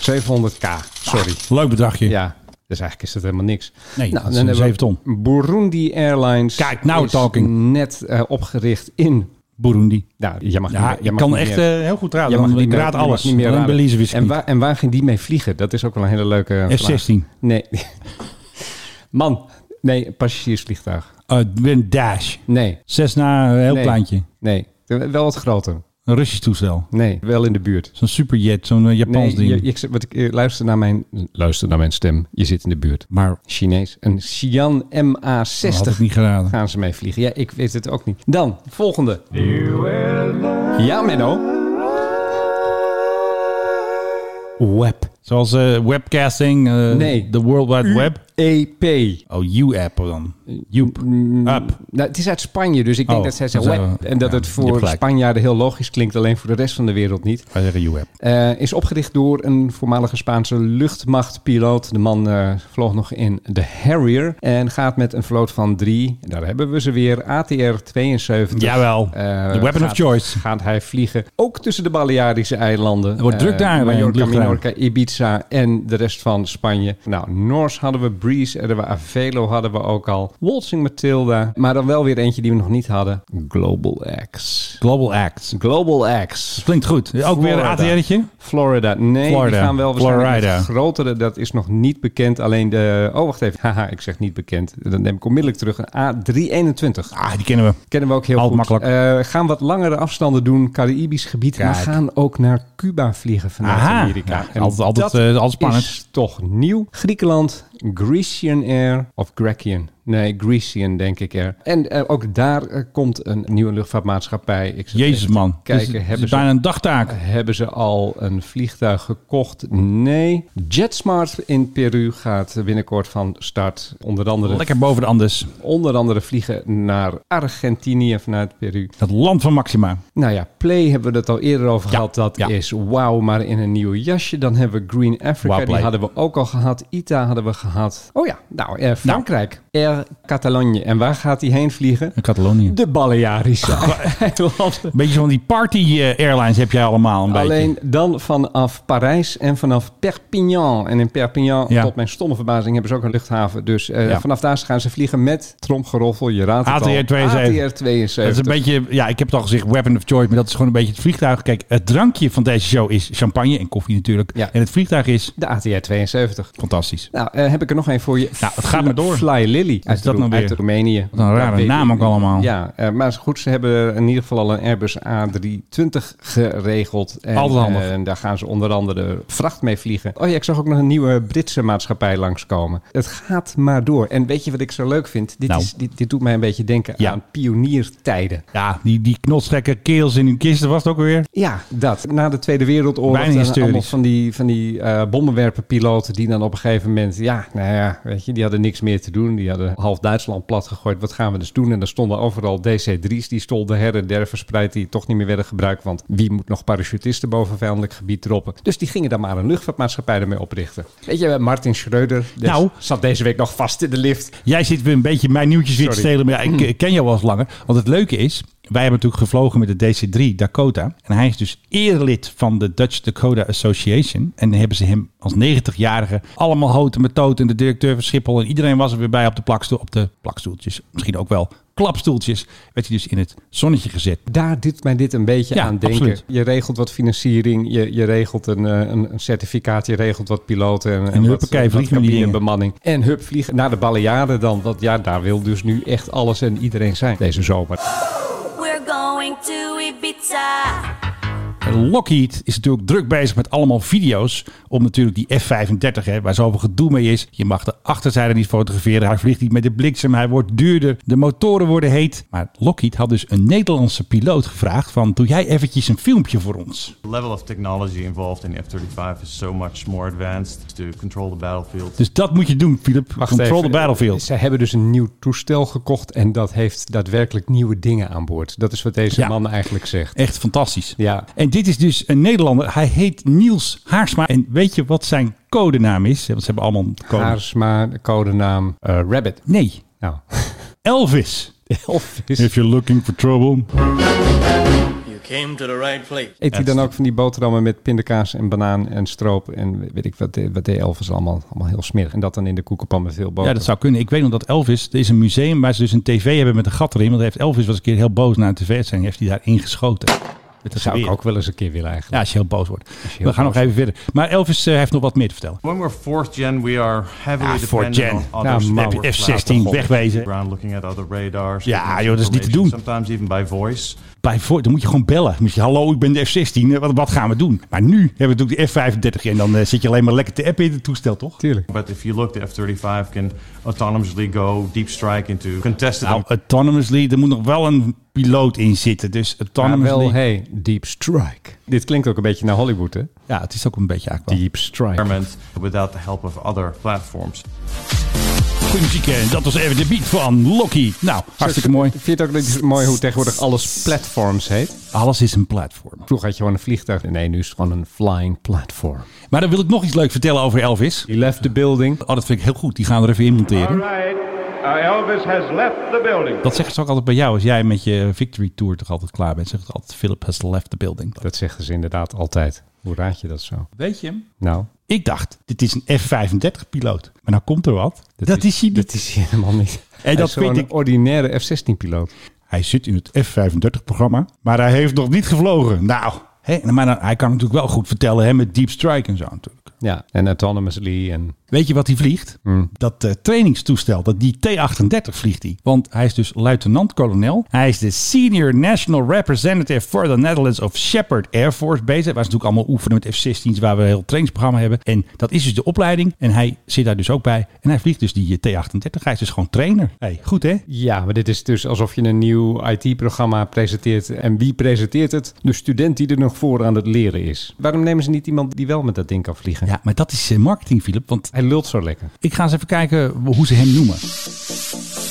Speaker 1: 700k, sorry.
Speaker 2: Leuk bedragje.
Speaker 1: Ja, dus eigenlijk is dat helemaal niks. Nou,
Speaker 2: Nee, dat is
Speaker 1: dan
Speaker 2: een
Speaker 1: hebben we
Speaker 2: zeven
Speaker 1: Burundi Airlines.
Speaker 2: Kijk, nou
Speaker 1: is
Speaker 2: talking.
Speaker 1: net eh, opgericht in...
Speaker 2: Burundi.
Speaker 1: Nou, jij mag niet
Speaker 2: Ja,
Speaker 1: meer- jij
Speaker 2: je
Speaker 1: mag
Speaker 2: kan
Speaker 1: niet
Speaker 2: echt
Speaker 1: meer.
Speaker 2: eh, heel goed raden.
Speaker 1: Jij mag
Speaker 2: Dan,
Speaker 1: niet
Speaker 2: ik
Speaker 1: meer-
Speaker 2: raad
Speaker 1: je mag
Speaker 2: alles.
Speaker 1: Niet meer
Speaker 2: Alleen
Speaker 1: raden.
Speaker 2: Belize wist ik
Speaker 1: en,
Speaker 2: niet.
Speaker 1: waar, en waar ging die mee vliegen? Dat is ook wel een hele leuke eh, vraag.
Speaker 2: F-16.
Speaker 1: Nee. Man, nee, passagiersvliegtuig.
Speaker 2: Eh, ik ben Dash.
Speaker 1: Nee,
Speaker 2: Zes na een heel
Speaker 1: Nee.
Speaker 2: kleintje.
Speaker 1: nee. Wel wat groter.
Speaker 2: Een Russisch toestel.
Speaker 1: Nee, wel in de buurt.
Speaker 2: Zo'n superjet, zo'n eh, Japans
Speaker 1: Nee,
Speaker 2: ding.
Speaker 1: je- ik, wat ik, eh, luister, naar mijn, luister naar mijn stem. Je zit in de buurt.
Speaker 2: Maar
Speaker 1: Chinees. Een Xi'an
Speaker 2: dat had ik
Speaker 1: MA60
Speaker 2: niet geraden.
Speaker 1: gaan ze mee vliegen. Ja, ik weet het ook niet. Dan, volgende. Ja, Menno. Web.
Speaker 2: Zoals eh, webcasting, eh,
Speaker 1: Nee.
Speaker 2: de World Wide Web.
Speaker 1: EP.
Speaker 2: Oh, U-app dan. Joep. App.
Speaker 1: E Nou, het is uit Spanje, dus ik denk
Speaker 2: Oh,
Speaker 1: dat zij zeggen
Speaker 2: dat zou-
Speaker 1: web. En dat
Speaker 2: ja,
Speaker 1: het
Speaker 2: je
Speaker 1: voor
Speaker 2: hebt gelijk.
Speaker 1: Spanjaarden heel logisch klinkt, alleen voor de rest van de wereld niet.
Speaker 2: Wij zeggen U-app.
Speaker 1: Eh, is opgericht door een voormalige Spaanse luchtmachtpiloot. De man eh, vloog nog in de Harrier. En gaat met een vloot van drie, en daar hebben we ze weer, ATR-72.
Speaker 2: Jawel.
Speaker 1: Eh,
Speaker 2: The Dus, weapon
Speaker 1: gaat-
Speaker 2: of choice.
Speaker 1: Gaat hij vliegen. Ook tussen de Balearische eilanden. Eh,
Speaker 2: wordt druk daar, hè, in het
Speaker 1: Mallorca,
Speaker 2: luchtruim.
Speaker 1: Minorca, Ibiza en de rest van Spanje. Nou, Norse hadden we, Breeze hadden we, Avelo hadden we ook al. Waltzing Matilda. Maar dan wel weer eentje die we nog niet hadden. Global X.
Speaker 2: Global Act.
Speaker 1: Global X.
Speaker 2: Klinkt goed. Ook weer een
Speaker 1: Florida.
Speaker 2: ATR'tje.
Speaker 1: Florida. Nee,
Speaker 2: Florida.
Speaker 1: die gaan wel waarschijnlijk
Speaker 2: Florida.
Speaker 1: met grotere. Dat is nog niet bekend. Alleen de... Oh, wacht even. Haha, ik zeg niet bekend. Dan neem ik onmiddellijk terug. Een A321.
Speaker 2: Ah, die kennen we.
Speaker 1: Kennen we ook heel
Speaker 2: Altijd
Speaker 1: goed. Eh, gaan wat langere afstanden doen, Caribisch gebied. Maar
Speaker 2: Kijk.
Speaker 1: gaan ook naar Cuba vliegen vanuit
Speaker 2: Aha.
Speaker 1: Amerika.
Speaker 2: Ja,
Speaker 1: En
Speaker 2: altijd- altijd,
Speaker 1: dat
Speaker 2: eh, altijd spannend.
Speaker 1: is toch nieuw. Griekenland, Grecian Air of Grekian. Nee, Grecian denk ik er. En eh, ook daar eh, komt een nieuwe luchtvaartmaatschappij. Ik zit
Speaker 2: Jezus
Speaker 1: even
Speaker 2: man.
Speaker 1: te Kijken,
Speaker 2: Dit is- dit
Speaker 1: hebben
Speaker 2: is
Speaker 1: ze
Speaker 2: bijna een dagtaak.
Speaker 1: hebben ze al een vliegtuig gekocht? Nee. JetSmart in Peru gaat binnenkort van start. Onder andere,
Speaker 2: Lekker boven de Andes.
Speaker 1: onder andere vliegen naar Argentinië vanuit Peru.
Speaker 2: Het land van Maxima.
Speaker 1: Nou ja, Play hebben we het al eerder over gehad. Dat
Speaker 2: ja.
Speaker 1: is wauw, maar in een nieuw jasje. Dan hebben we Green Africa,
Speaker 2: Wauw,
Speaker 1: die
Speaker 2: Play.
Speaker 1: hadden we ook al gehad. ITA hadden we gehad. Oh ja, nou, eh, Frankrijk. Air Catalogne. En waar gaat die heen vliegen?
Speaker 2: In Catalonië.
Speaker 1: De Balearische eilanden.
Speaker 2: Beetje van die party eh, airlines heb jij allemaal een beetje.
Speaker 1: Alleen dan vanaf Parijs en vanaf Perpignan. En in Perpignan,
Speaker 2: Ja.
Speaker 1: tot mijn stomme verbazing, hebben ze ook een luchthaven. Dus eh,
Speaker 2: Ja.
Speaker 1: vanaf daar gaan ze vliegen met tromgeroffel, je raadt het al.
Speaker 2: ATR-72.
Speaker 1: ATR-72.
Speaker 2: Dat is een beetje, ja, ik heb het al gezegd, weapon of choice, maar dat is gewoon een beetje het vliegtuig. Kijk, het drankje van deze show is champagne en koffie natuurlijk.
Speaker 1: Ja.
Speaker 2: En het vliegtuig is
Speaker 1: De ATR-72.
Speaker 2: fantastisch.
Speaker 1: Nou, eh, heb ik er nog één voor je.
Speaker 2: Nou, het gaat maar door.
Speaker 1: Fly Lily uit,
Speaker 2: dat
Speaker 1: Ro-
Speaker 2: nou weer?
Speaker 1: uit Roemenië.
Speaker 2: Wat een rare
Speaker 1: Ja,
Speaker 2: naam
Speaker 1: weet-
Speaker 2: ook allemaal.
Speaker 1: Ja, eh, maar is goed, ze hebben in ieder geval al een Airbus A320 geregeld. En,
Speaker 2: Altijd handig.
Speaker 1: eh, En daar gaan ze onder andere vracht mee vliegen. Oh ja, ik zag ook nog een nieuwe Britse maatschappij langskomen. Het gaat maar door. En weet je wat ik zo leuk vind? Dit,
Speaker 2: Nou.
Speaker 1: is, dit, dit doet mij een beetje denken
Speaker 2: Ja.
Speaker 1: aan pioniertijden.
Speaker 2: Ja, die, die knotstekken, keels in hun kisten was het ook weer.
Speaker 1: Ja, dat. Na de Tweede Wereldoorlog
Speaker 2: Bijna
Speaker 1: dan
Speaker 2: hysterisch.
Speaker 1: allemaal van die, van die eh, bommenwerperpiloten die dan op een gegeven moment, ja, nou ja, weet je, die hadden niks meer te doen. Die hadden half Duitsland plat gegooid. Wat gaan we dus doen? En daar stonden overal DC-3's, die stonden her en der verspreid, die toch niet meer werden gebruikt. Want wie moet nog parachutisten boven vijandelijk gebied droppen? Dus die gingen daar maar een luchtvaartmaatschappij ermee oprichten. Weet je, Martin Schreuder dus
Speaker 2: Nou.
Speaker 1: zat deze week nog vast in de lift.
Speaker 2: Jij zit weer een beetje mijn nieuwtjes weer te
Speaker 1: Sorry. Mm.
Speaker 2: stelen, maar ja, ik eh, ken jou wel eens langer. Want het leuke is, Wij hebben natuurlijk gevlogen met de DC-3 Dakota. En hij is dus erelid van de Dutch Dakota Association. En dan hebben ze hem als 90-jarige allemaal hoten met toot. En de directeur van Schiphol en iedereen was er weer bij op de, plakstoel, op de plakstoeltjes. Misschien ook wel klapstoeltjes. Werd hij dus in het zonnetje gezet.
Speaker 1: Daar doet mij dit een beetje
Speaker 2: Ja,
Speaker 1: aan denken.
Speaker 2: absoluut.
Speaker 1: Je regelt wat financiering, je, je regelt een, eh, een een certificaat, je regelt wat piloten en, wat, eh,
Speaker 2: huppakee,
Speaker 1: wat
Speaker 2: vliegen met die dingen.
Speaker 1: cabinebemanning. En hup, vliegen naar de Balearen dan. Want ja, daar wil dus nu echt alles en iedereen zijn deze zomer.
Speaker 6: We're going to Ibiza.
Speaker 2: Lockheed is natuurlijk druk bezig met allemaal video's. Om natuurlijk die F-35, hè, waar zoveel gedoe mee is. Je mag de achterzijde niet fotograferen. Hij vliegt niet met de bliksem. Hij wordt duurder. De motoren worden heet. Maar Lockheed had dus een Nederlandse piloot gevraagd: van, Doe jij eventjes een filmpje voor ons?
Speaker 9: The level of technology involved in the F 35 is so much more advanced to control the battlefield.
Speaker 2: Dus dat moet je doen, Philip.
Speaker 1: Wacht
Speaker 2: Control
Speaker 1: even.
Speaker 2: the battlefield.
Speaker 1: Ze hebben dus een nieuw toestel gekocht en dat heeft daadwerkelijk nieuwe dingen aan boord. Dat is wat deze
Speaker 2: Ja.
Speaker 1: man eigenlijk zegt.
Speaker 2: Echt fantastisch.
Speaker 1: Ja.
Speaker 2: En dit is dus een Nederlander. Hij heet Niels Haarsma. En weet je wat zijn codenaam is? Want ze hebben allemaal een code.
Speaker 1: Haarsma, codenaam eh, Rabbit.
Speaker 2: Nee,
Speaker 1: Nou,
Speaker 2: Elvis.
Speaker 1: Elvis.
Speaker 2: you're looking for trouble.
Speaker 10: You came to the right place.
Speaker 1: Eet hij dan ook van die boterhammen met pindakaas en banaan en stroop en weet ik wat, de- wat deed Elvis allemaal, allemaal heel smerig. En dat dan in de koekenpan met veel
Speaker 2: Ja,
Speaker 1: boter.
Speaker 2: dat zou kunnen. Ik weet nog dat Elvis, er is een museum waar ze dus een tv hebben met een gat erin. Want daar heeft Elvis was een keer heel boos naar een tv-uitzending. Heeft hij daar ingeschoten. Met een
Speaker 1: zou ik
Speaker 2: geweer.
Speaker 1: ook wel eens een keer willen
Speaker 2: Ja,
Speaker 1: eigenlijk.
Speaker 2: als je heel boos wordt.
Speaker 1: heel
Speaker 2: We gaan nog
Speaker 1: boos
Speaker 2: even verder. Maar Elvis eh, heeft nog wat meer te vertellen.
Speaker 9: When we're fourth gen, we are heavily
Speaker 2: Ah, fourth
Speaker 9: dependent
Speaker 2: gen.
Speaker 9: on other
Speaker 1: Nou,
Speaker 9: sonar
Speaker 1: heb
Speaker 2: je
Speaker 9: platforms.
Speaker 2: F-16 wegwezen.
Speaker 9: Ground looking at other radars.
Speaker 2: Ja,
Speaker 9: taking
Speaker 2: joh, dat is niet te
Speaker 9: information,
Speaker 2: doen.
Speaker 9: Sometimes even by voice.
Speaker 2: Bij voor, dan moet je gewoon bellen. Moet je, hallo, ik ben de F-16. eh, Wat, wat gaan we doen? Maar nu hebben we natuurlijk de F-35. En dan eh, zit je alleen maar lekker te appen in het toestel, toch?
Speaker 1: Tuurlijk.
Speaker 9: But if you look, the F 35 can autonomously go deep strike into contested
Speaker 2: Nou, autonomously, er moet nog wel een piloot in zitten. Dus
Speaker 1: Maar
Speaker 2: autonomously...
Speaker 1: wel, hey, Deep Strike. Dit klinkt ook een beetje naar Hollywood, hè?
Speaker 2: Ja, het is ook een beetje eigenlijk wel.
Speaker 1: Deep Strike.
Speaker 9: environment without the help of other platforms.
Speaker 2: Goeie muziek. eh, Dat was even de beat van Locky. Nou, hartstikke mooi.
Speaker 1: Vind je het ook niet mooi hoe tegenwoordig alles platforms heet?
Speaker 2: Alles is een platform.
Speaker 1: Vroeger had je gewoon een vliegtuig. Nee, nu is het gewoon een flying platform.
Speaker 2: Maar dan wil ik nog iets leuk vertellen over Elvis.
Speaker 1: He left the building.
Speaker 2: Oh, dat vind ik heel goed. Die gaan we er even in monteren.
Speaker 10: Right, Uh, Elvis has left the building.
Speaker 2: Dat zeggen ze ook altijd bij jou. Als jij met je Victory Tour toch altijd klaar bent, zegt het altijd Philip has left the building.
Speaker 1: Dat zeggen ze inderdaad altijd. Hoe raad je dat zo?
Speaker 2: Weet je hem?
Speaker 1: Nou,
Speaker 2: Ik dacht, dit is een F-35 piloot. Maar nou komt er wat. Dat, is, hij niet.
Speaker 1: Dat is hij helemaal niet. hij
Speaker 2: dat
Speaker 1: is gewoon
Speaker 2: vind
Speaker 1: een
Speaker 2: ik-
Speaker 1: ordinaire F-16-piloot.
Speaker 2: Hij zit in het F-35-programma, maar hij heeft nog niet gevlogen. Nou, hè, maar dan- hij kan natuurlijk wel goed vertellen hè, met Deep Strike en zo natuurlijk.
Speaker 1: Ja, en autonomously. En...
Speaker 2: Weet je wat hij vliegt? Dat eh, trainingstoestel, dat die T-38 vliegt hij. Want hij is dus luitenant-kolonel. Hij is de Senior National Representative for the Netherlands of Shepherd Air Force Base. Waar ze natuurlijk allemaal oefenen met F-16's, waar we een heel trainingsprogramma hebben. En dat is dus de opleiding. En hij zit daar dus ook bij. En hij vliegt dus die eh, T-38. Hij is dus gewoon trainer. Hey, goed hè?
Speaker 1: Ja, maar dit is dus alsof je een nieuw IT-programma presenteert. En wie presenteert het? De student die er nog voor aan het leren is. Waarom nemen ze niet iemand die wel met dat ding kan vliegen?
Speaker 2: Ja, maar dat is eh, marketing, Philip. Want
Speaker 1: Hij lult zo lekker.
Speaker 2: ik ga eens even kijken hoe ze hem noemen.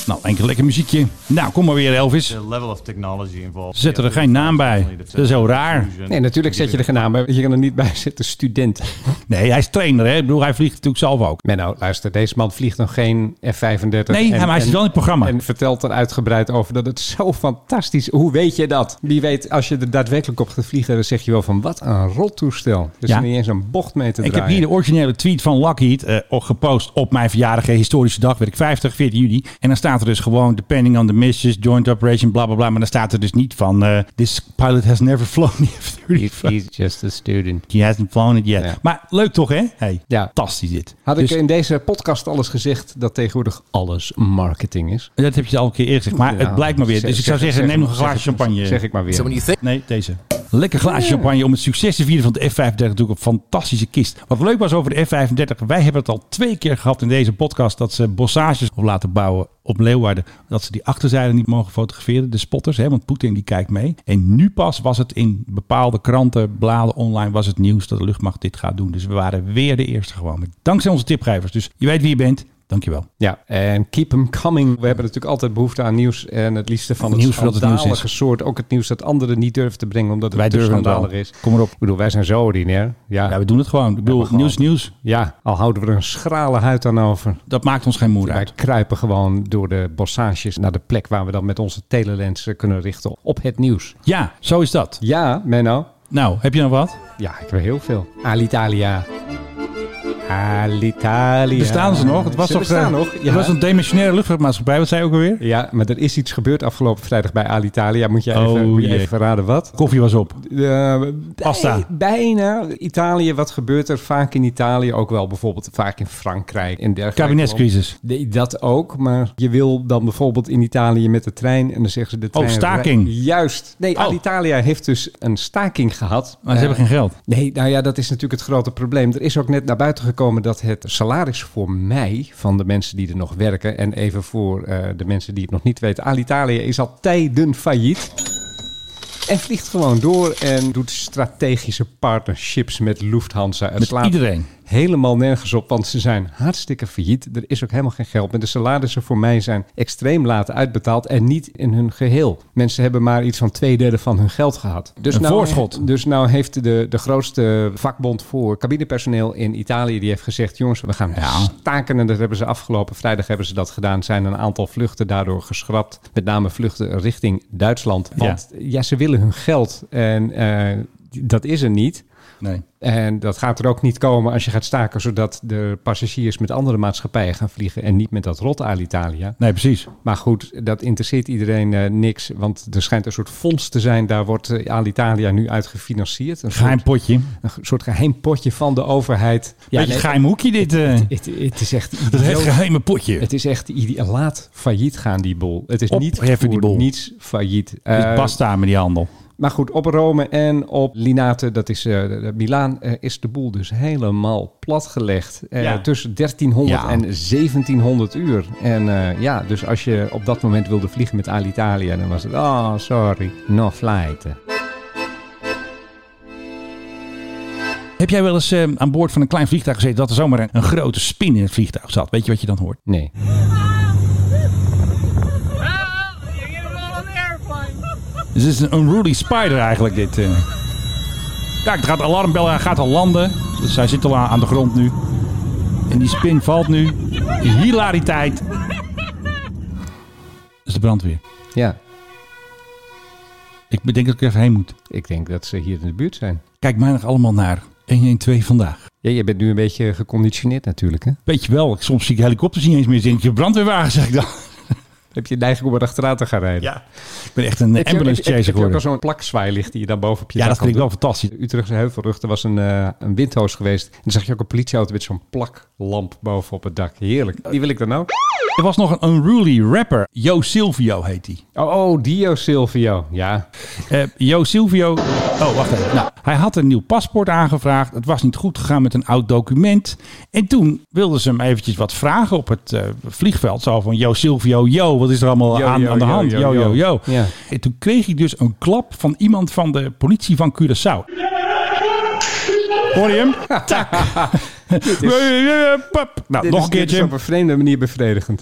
Speaker 2: Nou, enkele lekker muziekje. Nou, kom maar weer Elvis.
Speaker 9: The level of technology involved.
Speaker 2: Ze zetten er geen naam bij. Dat is heel raar.
Speaker 1: Nee, natuurlijk zet je er geen naam bij. want Je kan er niet bij zitten, student.
Speaker 2: Nee, hij is trainer. Hè? Ik bedoel, hij vliegt natuurlijk zelf ook.
Speaker 1: Menno, luister, deze man vliegt nog geen F-35.
Speaker 2: Nee, maar hij zit wel in het programma.
Speaker 1: En vertelt er uitgebreid over dat het zo fantastisch Hoe weet je dat? Wie weet, als je er daadwerkelijk op gaat vliegen, dan zeg je wel van wat een rottoestel. Dus
Speaker 2: Ja.
Speaker 1: er niet eens een bocht mee te
Speaker 2: Ik heb
Speaker 1: draaien.
Speaker 2: hier de originele tweet van Lockheed eh, op- gepost op mijn verjaardag, eh, historische dag, werd ik 50, 14 juli. En dan staat er dus gewoon, depending on the missions, joint operation, bla bla bla. Maar dan staat er dus niet van, eh, this pilot has never flown the F-35.
Speaker 1: He's just a student.
Speaker 2: He hasn't flown it yet.
Speaker 1: Ja.
Speaker 2: Maar leuk toch, hè? Hey,
Speaker 1: Ja.
Speaker 2: Fantastisch dit.
Speaker 1: Had
Speaker 2: Dus-
Speaker 1: ik in deze podcast alles gezegd dat tegenwoordig alles marketing is?
Speaker 2: Dat heb je al een keer eerder gezegd, maar
Speaker 1: Ja,
Speaker 2: het blijkt maar weer.
Speaker 1: zeg-
Speaker 2: Dus ik zou
Speaker 1: zeg-
Speaker 2: zeggen,
Speaker 1: zeg-
Speaker 2: neem nog een
Speaker 1: zeg-
Speaker 2: glaasje champagne.
Speaker 1: Zeg ik maar weer.
Speaker 2: Nee, deze. Lekker glaasje champagne om het succes te vieren van de F-35. Natuurlijk een fantastische kist. Wat leuk was over de F-35. Wij hebben het al twee keer gehad in deze podcast. Dat ze bossages op laten bouwen op Leeuwarden. Dat ze die achterzijde niet mogen fotograferen. De spotters. Hè, want Poetin die kijkt mee. En nu pas was het in bepaalde kranten, bladen online. Was het nieuws dat de luchtmacht dit gaat doen. Dus we waren weer de eerste gewoon. Dankzij onze tipgevers. Dus je weet wie je bent. Dankjewel.
Speaker 1: Ja, en keep 'em coming. We hebben natuurlijk altijd behoefte aan nieuws. En het liefste van
Speaker 2: Het
Speaker 1: het,
Speaker 2: nieuws voordat het nieuws is.
Speaker 1: schandalige soort. Ook het nieuws dat anderen niet durven te brengen, omdat het
Speaker 2: Wij
Speaker 1: te
Speaker 2: durven het
Speaker 1: schandalig
Speaker 2: wel.
Speaker 1: is.
Speaker 2: Kom erop.
Speaker 1: Ik bedoel, wij zijn zo ordinair. Ja,
Speaker 2: Ja,
Speaker 1: ja,
Speaker 2: we doen het gewoon. Ik bedoel,
Speaker 1: maar gewoon.
Speaker 2: nieuws, nieuws.
Speaker 1: al houden we er een schrale huid aan over.
Speaker 2: Dat maakt ons geen moer
Speaker 1: Wij
Speaker 2: uit.
Speaker 1: kruipen gewoon door de bossages naar de plek waar we dan met onze telelens eh, kunnen richten op het nieuws.
Speaker 2: Ja, zo is dat.
Speaker 1: Ja, Menno.
Speaker 2: Nou, heb je nog wat?
Speaker 1: Ja, ik weet heel veel. Alitalia. Alitalia.
Speaker 2: Bestaan ze nog? Het was
Speaker 1: Ze
Speaker 2: toch
Speaker 1: bestaan
Speaker 2: eh,
Speaker 1: nog?
Speaker 2: Het was een demissionaire luchtvaartmaatschappij. Wat zei je ook alweer?
Speaker 1: Ja, maar er is iets gebeurd afgelopen vrijdag bij Alitalia. Moet jij
Speaker 2: Oh,
Speaker 1: even, moet jij
Speaker 2: jee.
Speaker 1: even verraden wat?
Speaker 2: Koffie was op.
Speaker 1: Eh,
Speaker 2: Pasta.
Speaker 1: bij- bijna. Italië, wat gebeurt er vaak in Italië? Ook wel bijvoorbeeld vaak in Frankrijk en dergelijke.
Speaker 2: Kabinetscrisis.
Speaker 1: Nee, dat ook. Maar je wil dan bijvoorbeeld in Italië met de trein. En dan zeggen ze de trein...
Speaker 2: Oh, staking.
Speaker 1: Juist. Nee,
Speaker 2: Oh.
Speaker 1: Alitalia heeft dus een staking gehad.
Speaker 2: Maar
Speaker 1: Eh,
Speaker 2: ze hebben geen geld.
Speaker 1: Nee, nou ja, dat is natuurlijk het grote probleem. Er is ook net naar buiten gekomen dat het salaris voor mij, van de mensen die er nog werken, en even voor eh, de mensen die het nog niet weten, Alitalia is al tijden failliet. En vliegt gewoon door en doet strategische partnerships met Lufthansa. Het
Speaker 2: Met iedereen.
Speaker 1: helemaal nergens op, want ze zijn hartstikke failliet. Er is ook helemaal geen geld meer. De salarissen voor mij zijn extreem laat uitbetaald en niet in hun geheel. Mensen hebben maar iets van twee derde van hun geld gehad. Dus
Speaker 2: Een
Speaker 1: nou,
Speaker 2: voorschot.
Speaker 1: Dus nou heeft de, de grootste vakbond voor cabinepersoneel in Italië... die heeft gezegd, jongens, we gaan
Speaker 2: Ja.
Speaker 1: staken. En dat hebben ze afgelopen vrijdag hebben ze dat gedaan. Zijn een aantal vluchten daardoor geschrapt. Met name vluchten richting Duitsland. Want ja, ze willen hun geld en... eh, dat is er niet.
Speaker 2: Nee.
Speaker 1: En dat gaat er ook niet komen als je gaat staken, zodat de passagiers met andere maatschappijen gaan vliegen en niet met dat rot Alitalia.
Speaker 2: Nee, precies.
Speaker 1: Maar goed, dat interesseert iedereen eh, niks, want er schijnt een soort fonds te zijn. Daar wordt eh, Alitalia nu uit gefinancierd. Een,
Speaker 2: Geheim
Speaker 1: soort,
Speaker 2: potje.
Speaker 1: een ge- soort geheim potje van de overheid. Ja,
Speaker 2: Beetje
Speaker 1: nee,
Speaker 2: geheim hoekje dit. eh.
Speaker 1: het, het is echt
Speaker 2: dat heet
Speaker 1: idioot.
Speaker 2: geheime potje.
Speaker 1: Het is echt ide- laat failliet gaan, die bol. Het is niet
Speaker 2: Opheffen die
Speaker 1: voor
Speaker 2: bol.
Speaker 1: niets failliet.
Speaker 2: Dus
Speaker 1: Eh,
Speaker 2: pasta met die handel.
Speaker 1: maar goed, op Rome en op Linate, dat is eh, de- de Milaan, eh, is de boel dus helemaal platgelegd. Eh,
Speaker 2: Ja.
Speaker 1: Tussen 1300
Speaker 2: Ja.
Speaker 1: en 1700 uur. En eh, ja, dus als je op dat moment wilde vliegen met Alitalia, dan was het, oh sorry, no flight.
Speaker 2: Heb jij wel eens eh, aan boord van een klein vliegtuig gezeten dat er zomaar een, een grote spin in het vliegtuig zat? Weet je wat je dan hoort?
Speaker 1: Nee.
Speaker 2: Dus het is een unruly spider eigenlijk dit. eh. Kijk, het gaat de alarmbel, hij gaat al landen. Dus hij zit al aan, aan de grond nu. En die spin valt nu. Die hilariteit. Dat is de brandweer.
Speaker 1: Ja,
Speaker 2: Ik bedenk dat ik er even heen moet.
Speaker 1: ik denk dat ze hier in de buurt zijn.
Speaker 2: Kijk mij nog allemaal naar 112 vandaag.
Speaker 1: Ja, je bent nu een beetje geconditioneerd natuurlijk, hè?
Speaker 2: Weet je wel, ik- soms zie ik helikopters niet eens meer. Denk je brandweerwagen, zeg ik dan.
Speaker 1: Heb je neiging om er achteraan te gaan rijden?
Speaker 2: Ja. Ik ben echt een
Speaker 1: Heb je-
Speaker 2: ambulance
Speaker 1: heb je- Heb
Speaker 2: chaser
Speaker 1: je ook al
Speaker 2: geworden.
Speaker 1: zo'n plakzwaailicht die je dan boven op je
Speaker 2: Ja,
Speaker 1: dak
Speaker 2: dat
Speaker 1: kan
Speaker 2: klinkt
Speaker 1: doen?
Speaker 2: wel fantastisch.
Speaker 1: De Utrechtse heuvelrug, er was een, eh, een windhoos geweest. En dan zag je ook een politieauto met zo'n plaklamp boven op het dak. Heerlijk. Die wil ik dan ook.
Speaker 2: Er was nog een unruly rapper. Jo Silvio heet hij.
Speaker 1: Oh, oh, Dio Silvio. Ja.
Speaker 2: Eh, Jo Silvio. Oh, wacht even. Nou, hij had een nieuw paspoort aangevraagd. Het was niet goed gegaan met een oud document. En toen wilden ze hem eventjes wat vragen op het eh, vliegveld. Zo van: Jo Silvio, yo, wat is er allemaal
Speaker 1: Yo,
Speaker 2: aan,
Speaker 1: yo,
Speaker 2: aan de
Speaker 1: yo,
Speaker 2: hand?
Speaker 1: yo,
Speaker 2: Yo, yo,
Speaker 1: yo.
Speaker 2: yo.
Speaker 1: Ja.
Speaker 2: En toen kreeg hij dus een klap van iemand van de politie van Curaçao. Hoor je hem? Tak. Pap. nou,
Speaker 1: Dit
Speaker 2: nog
Speaker 1: is-
Speaker 2: een
Speaker 1: Dit is
Speaker 2: keertje.
Speaker 1: op een vreemde manier bevredigend.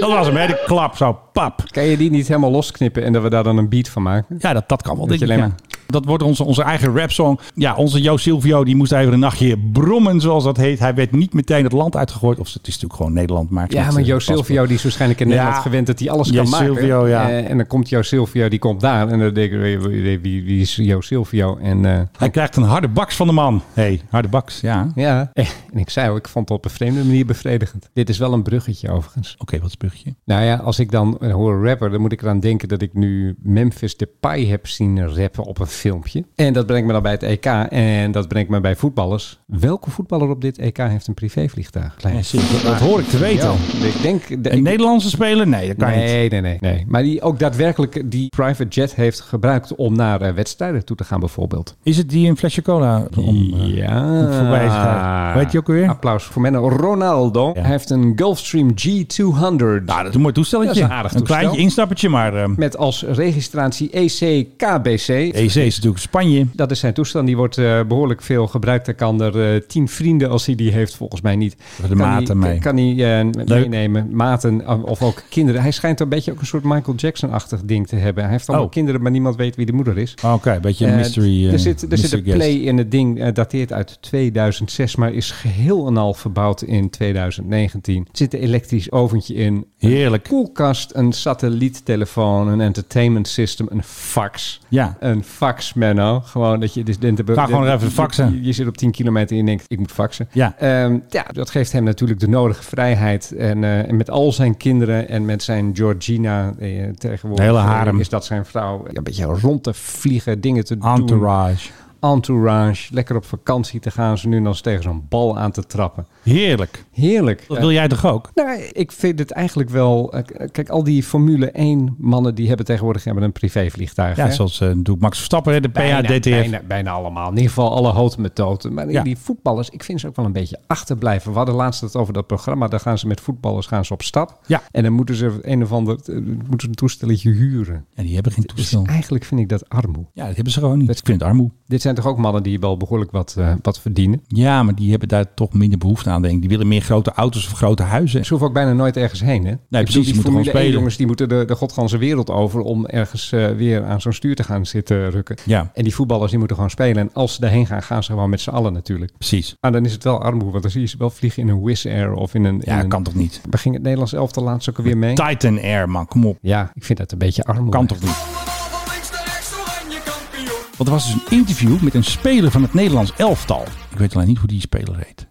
Speaker 2: Dat was hem, hè? De klap, zo, pap.
Speaker 1: Kan je die niet helemaal losknippen en dat we daar dan een beat van maken?
Speaker 2: Ja, dat, dat kan wel.
Speaker 1: Dat
Speaker 2: denk
Speaker 1: je
Speaker 2: ik,
Speaker 1: alleen
Speaker 2: ja. Dat wordt onze, onze eigen rapsong. Ja, onze Jo Silvio die moest even een nachtje brommen, zoals dat heet. Hij werd niet meteen het land uitgegooid. Of het is natuurlijk gewoon Nederland. Maar het
Speaker 1: Ja,
Speaker 2: is,
Speaker 1: maar
Speaker 2: eh,
Speaker 1: Jo
Speaker 2: paspoort.
Speaker 1: Silvio die is waarschijnlijk in
Speaker 2: Ja.
Speaker 1: Nederland gewend dat hij alles
Speaker 2: Jo
Speaker 1: kan maken.
Speaker 2: Silvio, ja.
Speaker 1: Eh, en dan komt Jo Silvio, die komt daar. En dan denk ik, wie, wie, wie- wie is Jo Silvio? En eh,
Speaker 2: Hij krijgt een harde baks van de man. hey, harde baks, ja. Oké,
Speaker 1: ja, en ik zei ook, ik vond het op een vreemde manier bevredigend. Dit is wel een bruggetje overigens.
Speaker 2: wat is het bruggetje?
Speaker 1: Nou ja, als ik dan eh, hoor rapper, dan moet ik eraan denken dat ik nu Memphis Depay heb zien rappen op een filmpje. En dat brengt me dan bij het EK en dat brengt me bij voetballers. Welke voetballer op dit EK heeft een privévliegtuig? Klein.
Speaker 2: Ja, zie, dat, dat hoor ik te weten.
Speaker 1: Ja, ik denk... de-
Speaker 2: Een
Speaker 1: ik-
Speaker 2: Nederlandse speler? Nee, dat kan niet.
Speaker 1: Nee, nee, nee, nee. Maar die ook daadwerkelijk die private jet heeft gebruikt om naar eh, wedstrijden toe te gaan bijvoorbeeld.
Speaker 2: Is het die een flesje cola? Om, eh,
Speaker 1: ja.
Speaker 2: voorbij is gegaan. Weet je ook alweer?
Speaker 1: Applaus voor Menno. Ronaldo
Speaker 2: Ja.
Speaker 1: Hij heeft een Gulfstream G200.
Speaker 2: nou, dat is een mooi toestelletje.
Speaker 1: Dat is een aardig toestel. E
Speaker 2: kleintje instappertje, maar... eh,
Speaker 1: Met als registratie ECKBC.
Speaker 2: EC, ehm, E is natuurlijk Spanje.
Speaker 1: Dat is zijn toestand. Die wordt eh, behoorlijk veel gebruikt. Hij kan er eh, tien vrienden, als hij die heeft, volgens mij niet.
Speaker 2: De
Speaker 1: kan
Speaker 2: maten
Speaker 1: hij,
Speaker 2: mee.
Speaker 1: Kan hij eh,
Speaker 2: Leuk.
Speaker 1: meenemen. Maten eh, of ook kinderen. Hij schijnt een beetje ook een soort Michael Jackson-achtig ding te hebben. Hij heeft allemaal
Speaker 2: Oh.
Speaker 1: kinderen, maar niemand weet wie de moeder is.
Speaker 2: Oké, een beetje
Speaker 1: Eh,
Speaker 2: een mystery. eh,
Speaker 1: er zit, er zit
Speaker 2: mystery
Speaker 1: een
Speaker 2: guest.
Speaker 1: play in het ding, eh, dateert uit 2006, maar is geheel en al verbouwd in 2019. Er zit een elektrisch oventje in,
Speaker 2: Heerlijk.
Speaker 1: koelkast, een satelliettelefoon, een entertainment system, een fax.
Speaker 2: Ja.
Speaker 1: Een fax, Menno. Gewoon dat je... Dus dit, dit-
Speaker 2: Ga gewoon
Speaker 1: dit-
Speaker 2: even faxen.
Speaker 1: Je, je zit op 10 kilometer en je denkt, ik moet faxen.
Speaker 2: Ja.
Speaker 1: Ehm, ja, dat geeft hem natuurlijk de nodige vrijheid. En, eh, en met al zijn kinderen en met zijn Georgina eh, tegenwoordig...
Speaker 2: De hele
Speaker 1: eh,
Speaker 2: harem.
Speaker 1: Is dat zijn vrouw. Ja, een beetje rond te vliegen, dingen te doen.
Speaker 2: Entourage.
Speaker 1: Entourage. Lekker op vakantie te gaan. Ze nu dan eens tegen zo'n bal aan te trappen.
Speaker 2: Heerlijk.
Speaker 1: Heerlijk.
Speaker 2: Dat wil jij toch ook?
Speaker 1: Nou, ik vind het eigenlijk wel... eh, k- Kijk, al die Formule 1 mannen die hebben tegenwoordig hebben een privévliegtuig.
Speaker 2: Ja,
Speaker 1: hè?
Speaker 2: zoals eh, doet Max Verstappen, hè, de
Speaker 1: Bijna,
Speaker 2: PHDTF.
Speaker 1: bijna, bijna allemaal. In ieder geval alle houten met toten. Maar die-
Speaker 2: Ja.
Speaker 1: die voetballers, ik vind ze ook wel een beetje achterblijven. We hadden laatst het over dat programma. Daar gaan ze met voetballers gaan ze op stap.
Speaker 2: Ja.
Speaker 1: En dan moeten ze een of ander eh, moeten ze een toestelletje huren.
Speaker 2: En die hebben geen
Speaker 1: Dus
Speaker 2: toestel.
Speaker 1: eigenlijk vind ik dat armoe.
Speaker 2: Ja, dat hebben ze gewoon niet. Ik vind het armoe.
Speaker 1: Dit zijn toch ook mannen die wel behoorlijk wat, eh, wat verdienen.
Speaker 2: Ja, maar die hebben daar toch minder behoefte aan, denk ik. Die willen meer grote auto's of grote huizen.
Speaker 1: Ze hoeven ook bijna nooit ergens heen. Hè? Ik bedoel,
Speaker 2: precies,
Speaker 1: Die
Speaker 2: ze moeten gewoon
Speaker 1: Formule 1
Speaker 2: spelen.
Speaker 1: jongens die moeten de, de godganse wereld over om ergens eh, weer aan zo'n stuur te gaan zitten rukken.
Speaker 2: Ja.
Speaker 1: En die voetballers die moeten gewoon spelen. En als ze daarheen gaan, gaan ze gewoon met z'n allen natuurlijk.
Speaker 2: Precies.
Speaker 1: Maar Ah, dan is het wel armoe, want dan zie je ze wel vliegen in een Wizz Air of in een... in
Speaker 2: Ja,
Speaker 1: een-
Speaker 2: kan toch niet?
Speaker 1: Waar ging het Nederlands elftal laatst ook alweer mee?
Speaker 2: Titan Air, man. Kom op.
Speaker 1: Ja, ik vind dat een beetje armoe.
Speaker 2: Kan toch niet? Want er was dus een interview met een speler van het Nederlands elftal. Ik weet alleen niet hoe die speler heet.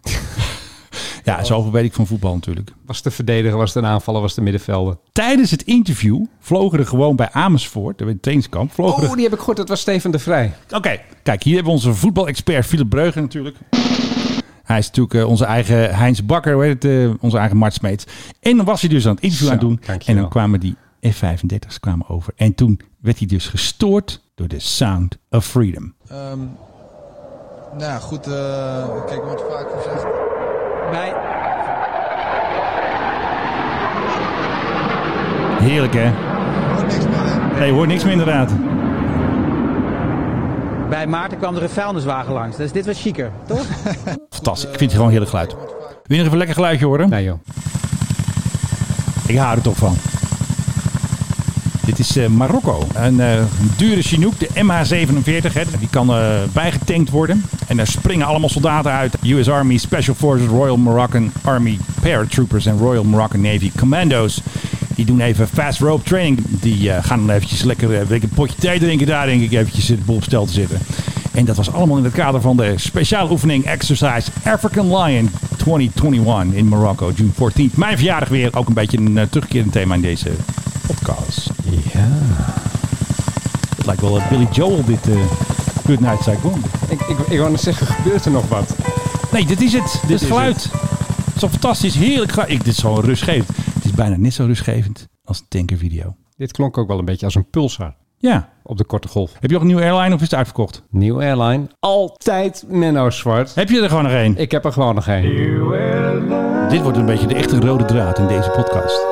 Speaker 2: ja, zoveel weet ik van voetbal natuurlijk.
Speaker 1: Was de verdediger, was de aanvaller, was de middenvelder.
Speaker 2: Tijdens het interview vlogen er gewoon bij Amersfoort, bij het trainingskamp, vlogen er
Speaker 1: Oh, die heb ik gehoord. Dat was Steven de Vrij.
Speaker 2: Oké, kijk, hier hebben we onze voetbalexpert Philip Breugen natuurlijk. Hij is natuurlijk eh, onze eigen Heinz Bakker, hoe heet het, eh, onze eigen Mart Smeets. En dan was hij dus aan het interview
Speaker 1: Zo,
Speaker 2: aan het doen.
Speaker 1: dankjewel.
Speaker 2: En dan kwamen die F-35's kwamen over. En toen werd hij dus gestoord door de Sound of Freedom.
Speaker 10: Nou ja, goed, eh, kijk, wordt vaak gezegd.
Speaker 2: Heerlijk, hè?
Speaker 10: Hoort niks meer, hè?
Speaker 2: Nee, je hoort niks meer inderdaad.
Speaker 11: Bij Maarten kwam er een vuilniswagen langs, dus dit was chiquer, toch?
Speaker 2: Fantastisch, ik vind het gewoon heerlijk geluid. Wil je nog even een lekker geluidje horen?
Speaker 1: Nee joh.
Speaker 2: Ik hou er toch van. Dit is eh, Marokko. Een eh, dure Chinook, de MH17. Hè, die kan eh, bijgetankt worden. En daar springen allemaal soldaten uit. US Army, Special Forces, Royal Moroccan Army Paratroopers en Royal Moroccan Navy Commando's. Die doen even fast rope training. Die eh, gaan dan eventjes lekker eh, weet ik, een potje thee drinken. Daar denk ik eventjes de boel op stel te zitten. En dat was allemaal in het kader van de speciale oefening Exercise African Lion 2021 in Marokko, June 14th. Mijn verjaardag weer. Ook een beetje een eh, terugkerend thema in deze podcast. Het lijkt wel dat Billy Joel dit eh Good Night Saigon.
Speaker 1: Ik, ik, ik wou net zeggen, gebeurt er nog wat?
Speaker 2: Nee, dit is het. Dit,
Speaker 1: is
Speaker 2: is het geluid. Het is zo fantastisch, heerlijk geluid. Ik, dit is gewoon rustgevend. Het is bijna net zo rustgevend als een tankervideo.
Speaker 1: Dit klonk ook wel een beetje als een pulsar
Speaker 2: Ja.
Speaker 1: op de korte golf.
Speaker 2: Heb je nog een nieuwe airline of is het uitverkocht?
Speaker 1: Nieuw airline. Altijd Menno Zwart.
Speaker 2: Heb je er gewoon nog één?
Speaker 1: Ik heb er gewoon nog één.
Speaker 2: Eh, Dit wordt een beetje de echte rode draad in deze podcast.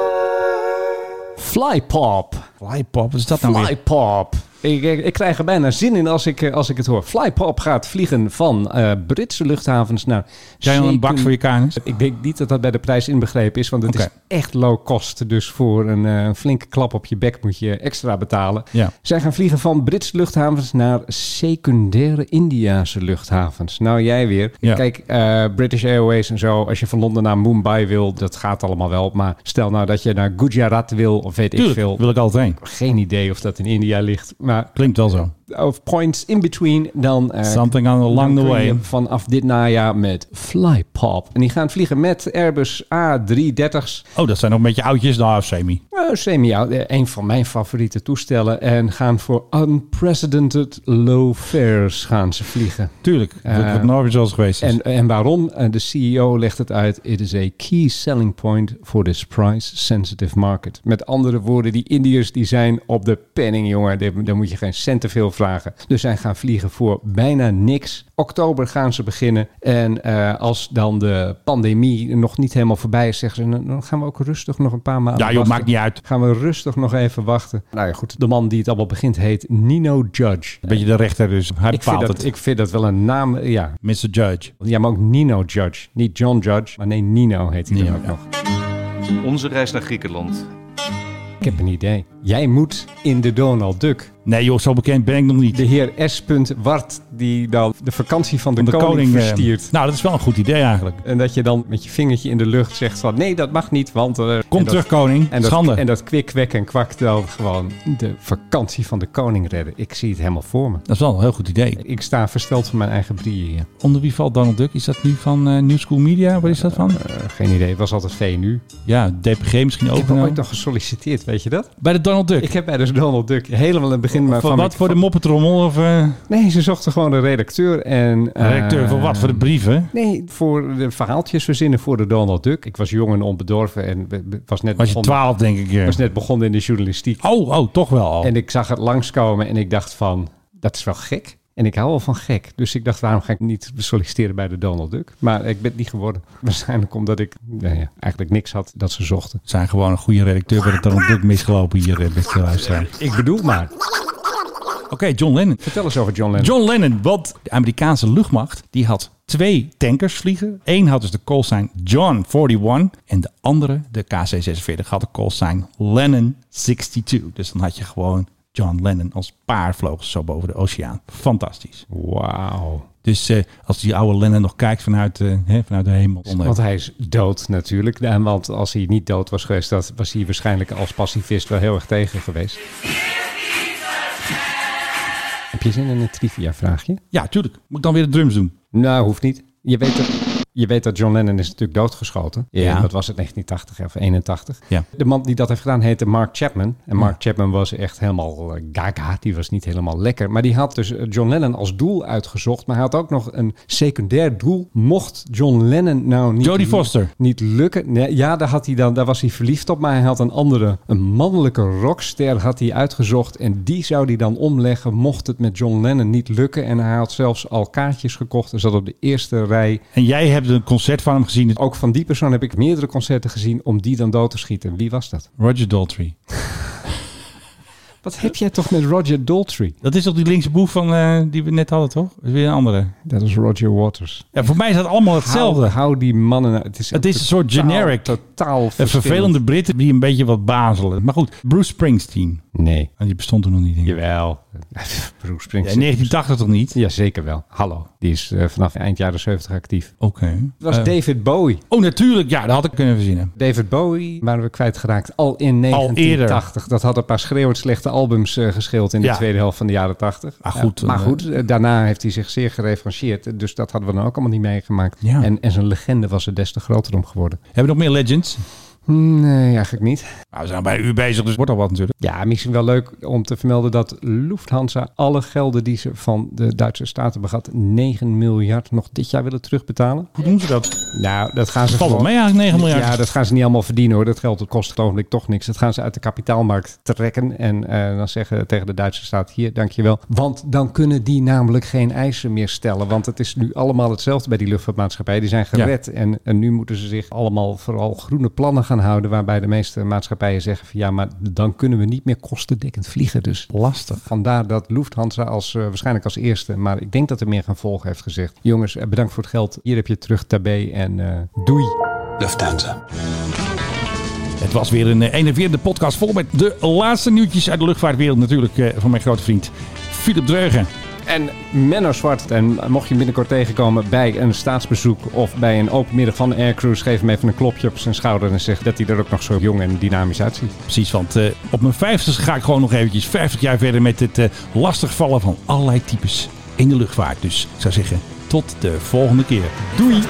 Speaker 1: Flypop.
Speaker 2: Flypop, wat is dat nou weer?
Speaker 1: Flypop. Ik, ik, ik krijg er bijna zin in als ik, eh, als ik het hoor. Flypop gaat vliegen van eh, Britse luchthavens naar...
Speaker 2: Zijn je al een bak
Speaker 1: zeker-
Speaker 2: voor je kanus?
Speaker 1: Ik denk niet dat dat bij de prijs inbegrepen is, want het
Speaker 2: Oké.
Speaker 1: is echt low cost. Dus voor een, eh, een flinke klap op je bek moet je extra betalen.
Speaker 2: Ja.
Speaker 1: Zij gaan vliegen van Britse luchthavens naar secundaire Indiase luchthavens. Nou, jij weer.
Speaker 2: Ja.
Speaker 1: Kijk, eh, British Airways en zo, als je van Londen naar Mumbai wil, dat gaat allemaal wel. Maar stel nou dat je naar Gujarat wil, of weet
Speaker 2: Tuurlijk,
Speaker 1: ik veel.
Speaker 2: wil ik altijd heen.
Speaker 1: Geen idee of dat in India ligt. Maar
Speaker 2: Klinkt wel zo.
Speaker 1: of points in between, dan... eh,
Speaker 2: Something
Speaker 1: dan
Speaker 2: along the
Speaker 1: kun
Speaker 2: way.
Speaker 1: je Vanaf dit najaar met Flypop. En die gaan vliegen met Airbus A330's.
Speaker 2: Oh, dat zijn nog een beetje oudjes. Nou, semi.
Speaker 1: Eh, semi een van mijn favoriete toestellen. En gaan voor unprecedented low fares gaan ze vliegen.
Speaker 2: Tuurlijk.
Speaker 1: Eh,
Speaker 2: Wat wat nooit weer zoals geweest is.
Speaker 1: En, en waarom? Eh, De CEO legt het uit. It is a key selling point for this price-sensitive market. Met andere woorden, die Indiërs die zijn op de penning, jongen. Daar daar moet je geen cent te veel vragen. Dus zij gaan vliegen voor bijna niks. Oktober gaan ze beginnen. En eh, als dan de pandemie nog niet helemaal voorbij is, zeggen ze... "Nou, dan gaan we ook rustig nog een paar maanden
Speaker 2: Ja, joh,
Speaker 1: wachten."
Speaker 2: maakt niet uit.
Speaker 1: Gaan we rustig nog even wachten. Nou ja, goed. De man die het allemaal begint heet Nino Judge.
Speaker 2: Beetje de rechter dus. Hij
Speaker 1: Ik vind,
Speaker 2: bepaalt
Speaker 1: dat,
Speaker 2: het.
Speaker 1: ik vind dat wel een naam, ja.
Speaker 2: Mr. Judge.
Speaker 1: Ja, maar ook Nino Judge. Niet John Judge, maar nee, Nino heet hij
Speaker 2: Nino,
Speaker 1: dan ook
Speaker 2: ja.
Speaker 1: nog.
Speaker 5: Onze reis naar Griekenland.
Speaker 1: Ik heb een idee. Jij moet in de Donald Duck.
Speaker 2: Nee joh, zo bekend ben ik nog niet.
Speaker 1: De heer S. Wart, die dan de vakantie van de,
Speaker 2: Van
Speaker 1: koning,
Speaker 2: eh,
Speaker 1: verstiert.
Speaker 2: nou, dat is wel een goed idee eigenlijk.
Speaker 1: En dat je dan met je vingertje in de lucht zegt van... nee, dat mag niet, want... eh, en
Speaker 2: Kom
Speaker 1: dat-
Speaker 2: terug, koning.
Speaker 1: En dat,
Speaker 2: Schande.
Speaker 1: En dat kwik, kwek en kwak dan gewoon de vakantie van de koning redden. Ik zie het helemaal voor me.
Speaker 2: dat is wel een heel goed idee.
Speaker 1: Ik sta versteld van mijn eigen brieën hier.
Speaker 2: Onder wie valt Donald Duck? Is dat nu van eh New School Media? Waar is dat van?
Speaker 1: Eh, geen idee, het was altijd VNU.
Speaker 2: Ja, DPG misschien
Speaker 1: Ik
Speaker 2: ook.
Speaker 1: heb er ooit nog gesolliciteerd, weet je dat?
Speaker 2: Bij de Donald Duck.
Speaker 1: Ik heb bij dus Donald Duck helemaal in het begin... maar
Speaker 2: voor
Speaker 1: van
Speaker 2: wat? Voor de moppetrommel? Of, eh,
Speaker 1: Nee, ze zochten gewoon een redacteur en... eh,
Speaker 2: redacteur, voor wat? Voor de brieven?
Speaker 1: Nee, voor de verhaaltjes verzinnen voor de Donald Duck. Ik was jong en onbedorven en be- be- was net,
Speaker 2: Was je
Speaker 1: begonnen,
Speaker 2: twaalf, denk ik. eh.
Speaker 1: was net begonnen in de journalistiek.
Speaker 2: Oh, oh, toch wel al.
Speaker 1: En ik zag het langskomen en ik dacht van, dat is wel gek. En ik hou wel van gek. Dus ik dacht, waarom ga ik niet solliciteren bij de Donald Duck? Maar ik ben het niet geworden. Waarschijnlijk omdat ik nou ja, eigenlijk niks had dat ze zochten.
Speaker 2: We zijn gewoon een goede redacteur bij de Donald Duck misgelopen hier, eh, beste luisteraar.
Speaker 1: Ik bedoel maar.
Speaker 2: Oké, John Lennon.
Speaker 1: Vertel eens over John Lennon.
Speaker 2: John Lennon, want de Amerikaanse luchtmacht die had twee tankers vliegen. Eén had dus de callsign John 41 en de andere, de KC-46, had de callsign Lennon 62. Dus dan had je gewoon John Lennon als paar vloog zo boven de oceaan. Fantastisch.
Speaker 1: Wauw.
Speaker 2: Dus eh, als die oude Lennon nog kijkt vanuit, eh, hè, vanuit de hemel.
Speaker 1: Want hij is dood natuurlijk. En want als hij niet dood was geweest, dat was hij waarschijnlijk als pacifist wel heel erg tegen geweest. Heb je zin in een trivia vraagje?
Speaker 2: Ja, tuurlijk. Moet ik dan weer de drums doen?
Speaker 1: Nou, hoeft niet. Je weet dat, je weet dat John Lennon is natuurlijk doodgeschoten.
Speaker 2: Ja.
Speaker 1: En Dat was het 1980 of 81.
Speaker 2: Ja.
Speaker 1: De man die dat heeft gedaan heette Mark Chapman. En Mark Chapman was echt helemaal eh, gaga. Die was niet helemaal lekker. Maar die had dus eh, John Lennon als doel uitgezocht. Maar hij had ook nog een secundair doel. Mocht John Lennon nou niet...
Speaker 2: Jodie Foster.
Speaker 1: Niet lukken. Nee, ja, daar, had hij dan, daar was hij verliefd op. Maar hij had een andere, een mannelijke rockster had hij uitgezocht. En die zou hij dan omleggen mocht het met John Lennon niet lukken. En hij had zelfs al kaartjes gekocht. En zat op de eerste rij.
Speaker 2: En jij hebt een concert van hem gezien.
Speaker 1: Ook van die persoon heb ik meerdere concerten gezien om die dan dood te schieten. Wie was dat?
Speaker 2: Roger Daltrey.
Speaker 1: Wat heb jij toch met Roger Daltrey?
Speaker 2: Dat is toch die linkse boef van, eh, die we net hadden, toch? Dat is weer een andere.
Speaker 1: Dat is Roger Waters.
Speaker 2: Ja, voor mij is dat allemaal hetzelfde.
Speaker 1: Hou, hou die mannen... nou- Het is,
Speaker 2: Het is een soort
Speaker 1: totaal-
Speaker 2: generic.
Speaker 1: Totaal
Speaker 2: De
Speaker 1: verschillend.
Speaker 2: vervelende Britten die een beetje wat bazelen. Maar goed, Bruce Springsteen.
Speaker 1: Nee.
Speaker 2: En die bestond toen nog niet. Denk ik.
Speaker 1: Jawel. Bruce
Speaker 2: Ja, in
Speaker 1: Springsteen.
Speaker 2: 1980 toch niet?
Speaker 1: Ja, zeker wel. Hallo. Die is eh, vanaf eind jaren 70 actief.
Speaker 2: Oké.
Speaker 1: Het was
Speaker 2: Eh,
Speaker 1: David Bowie.
Speaker 2: oh, natuurlijk. Ja, dat had ik kunnen verzinnen.
Speaker 1: David Bowie waren we kwijtgeraakt al in
Speaker 2: Al eerder.
Speaker 1: 1980. dat had een paar schreeuwend slechte albums eh, gescheeld in de
Speaker 2: Ja.
Speaker 1: tweede helft van de jaren 80.
Speaker 2: Maar
Speaker 1: Ja,
Speaker 2: goed,
Speaker 1: maar
Speaker 2: eh,
Speaker 1: goed eh, daarna heeft hij zich zeer gereferentieerd. Dus dat hadden we dan ook allemaal niet meegemaakt.
Speaker 2: Ja.
Speaker 1: En, en zijn legende was er des te groter om geworden.
Speaker 2: Hebben we nog meer legends?
Speaker 1: Nee, eigenlijk niet.
Speaker 2: Nou, we zijn bij u bezig, dus wordt al wat natuurlijk.
Speaker 1: Ja, misschien wel leuk om te vermelden dat Lufthansa alle gelden die ze van de Duitse staat hebben gehad, 9 miljard, nog dit jaar willen terugbetalen.
Speaker 2: Hoe doen ze dat?
Speaker 1: Nou, dat gaan ze
Speaker 2: Valt wel
Speaker 1: gewoon...
Speaker 2: mee eigenlijk, 9 miljard.
Speaker 1: Ja, dat gaan ze niet allemaal verdienen hoor. Dat geld dat kost geloof ik toch niks. Dat gaan ze uit de kapitaalmarkt trekken en eh, dan zeggen tegen de Duitse staat hier, dankjewel. Want dan kunnen die namelijk geen eisen meer stellen. Want het is nu allemaal hetzelfde bij die luchtvaartmaatschappij. Die zijn gered en, en nu moeten ze zich allemaal vooral groene plannen gaan houden. Waarbij de meeste maatschappijen zeggen van ja, maar dan kunnen we niet meer kostendekkend vliegen. Dus
Speaker 2: lastig.
Speaker 1: Vandaar dat Lufthansa als, eh, waarschijnlijk als eerste, maar ik denk dat er meer gaan volgen, heeft gezegd. Jongens, eh, bedankt voor het geld. Hier heb je terug tabé en eh, doei.
Speaker 2: Het was weer een eh, enerverende podcast vol met de laatste nieuwtjes uit de luchtvaartwereld. Natuurlijk eh, van mijn grote vriend Philip Dreugen.
Speaker 1: En Menno Zwart. En mocht je hem binnenkort tegenkomen bij een staatsbezoek of bij een open middag van Air Cruise, geef hem even een klopje op zijn schouder en zeg dat hij er ook nog zo jong en dynamisch uitziet.
Speaker 2: Precies, want eh, op mijn vijftigste ga ik gewoon nog eventjes 50 jaar verder met het eh, lastigvallen van allerlei types in de luchtvaart. Dus ik zou zeggen, tot de volgende keer. Doei!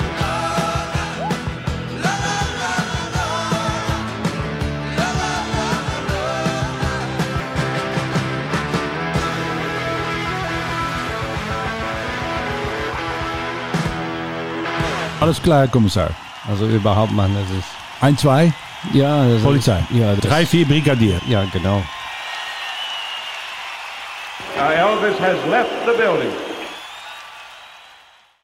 Speaker 2: Alles klaar, commissaris.
Speaker 1: Also überhaupt man, dat is.
Speaker 2: 1, 2,
Speaker 1: Ja, dat is.
Speaker 2: Polizei.
Speaker 1: Ja, dat is-
Speaker 2: 3, 4, Brigadier.
Speaker 1: Ja, genau.
Speaker 12: Elvis has left the building.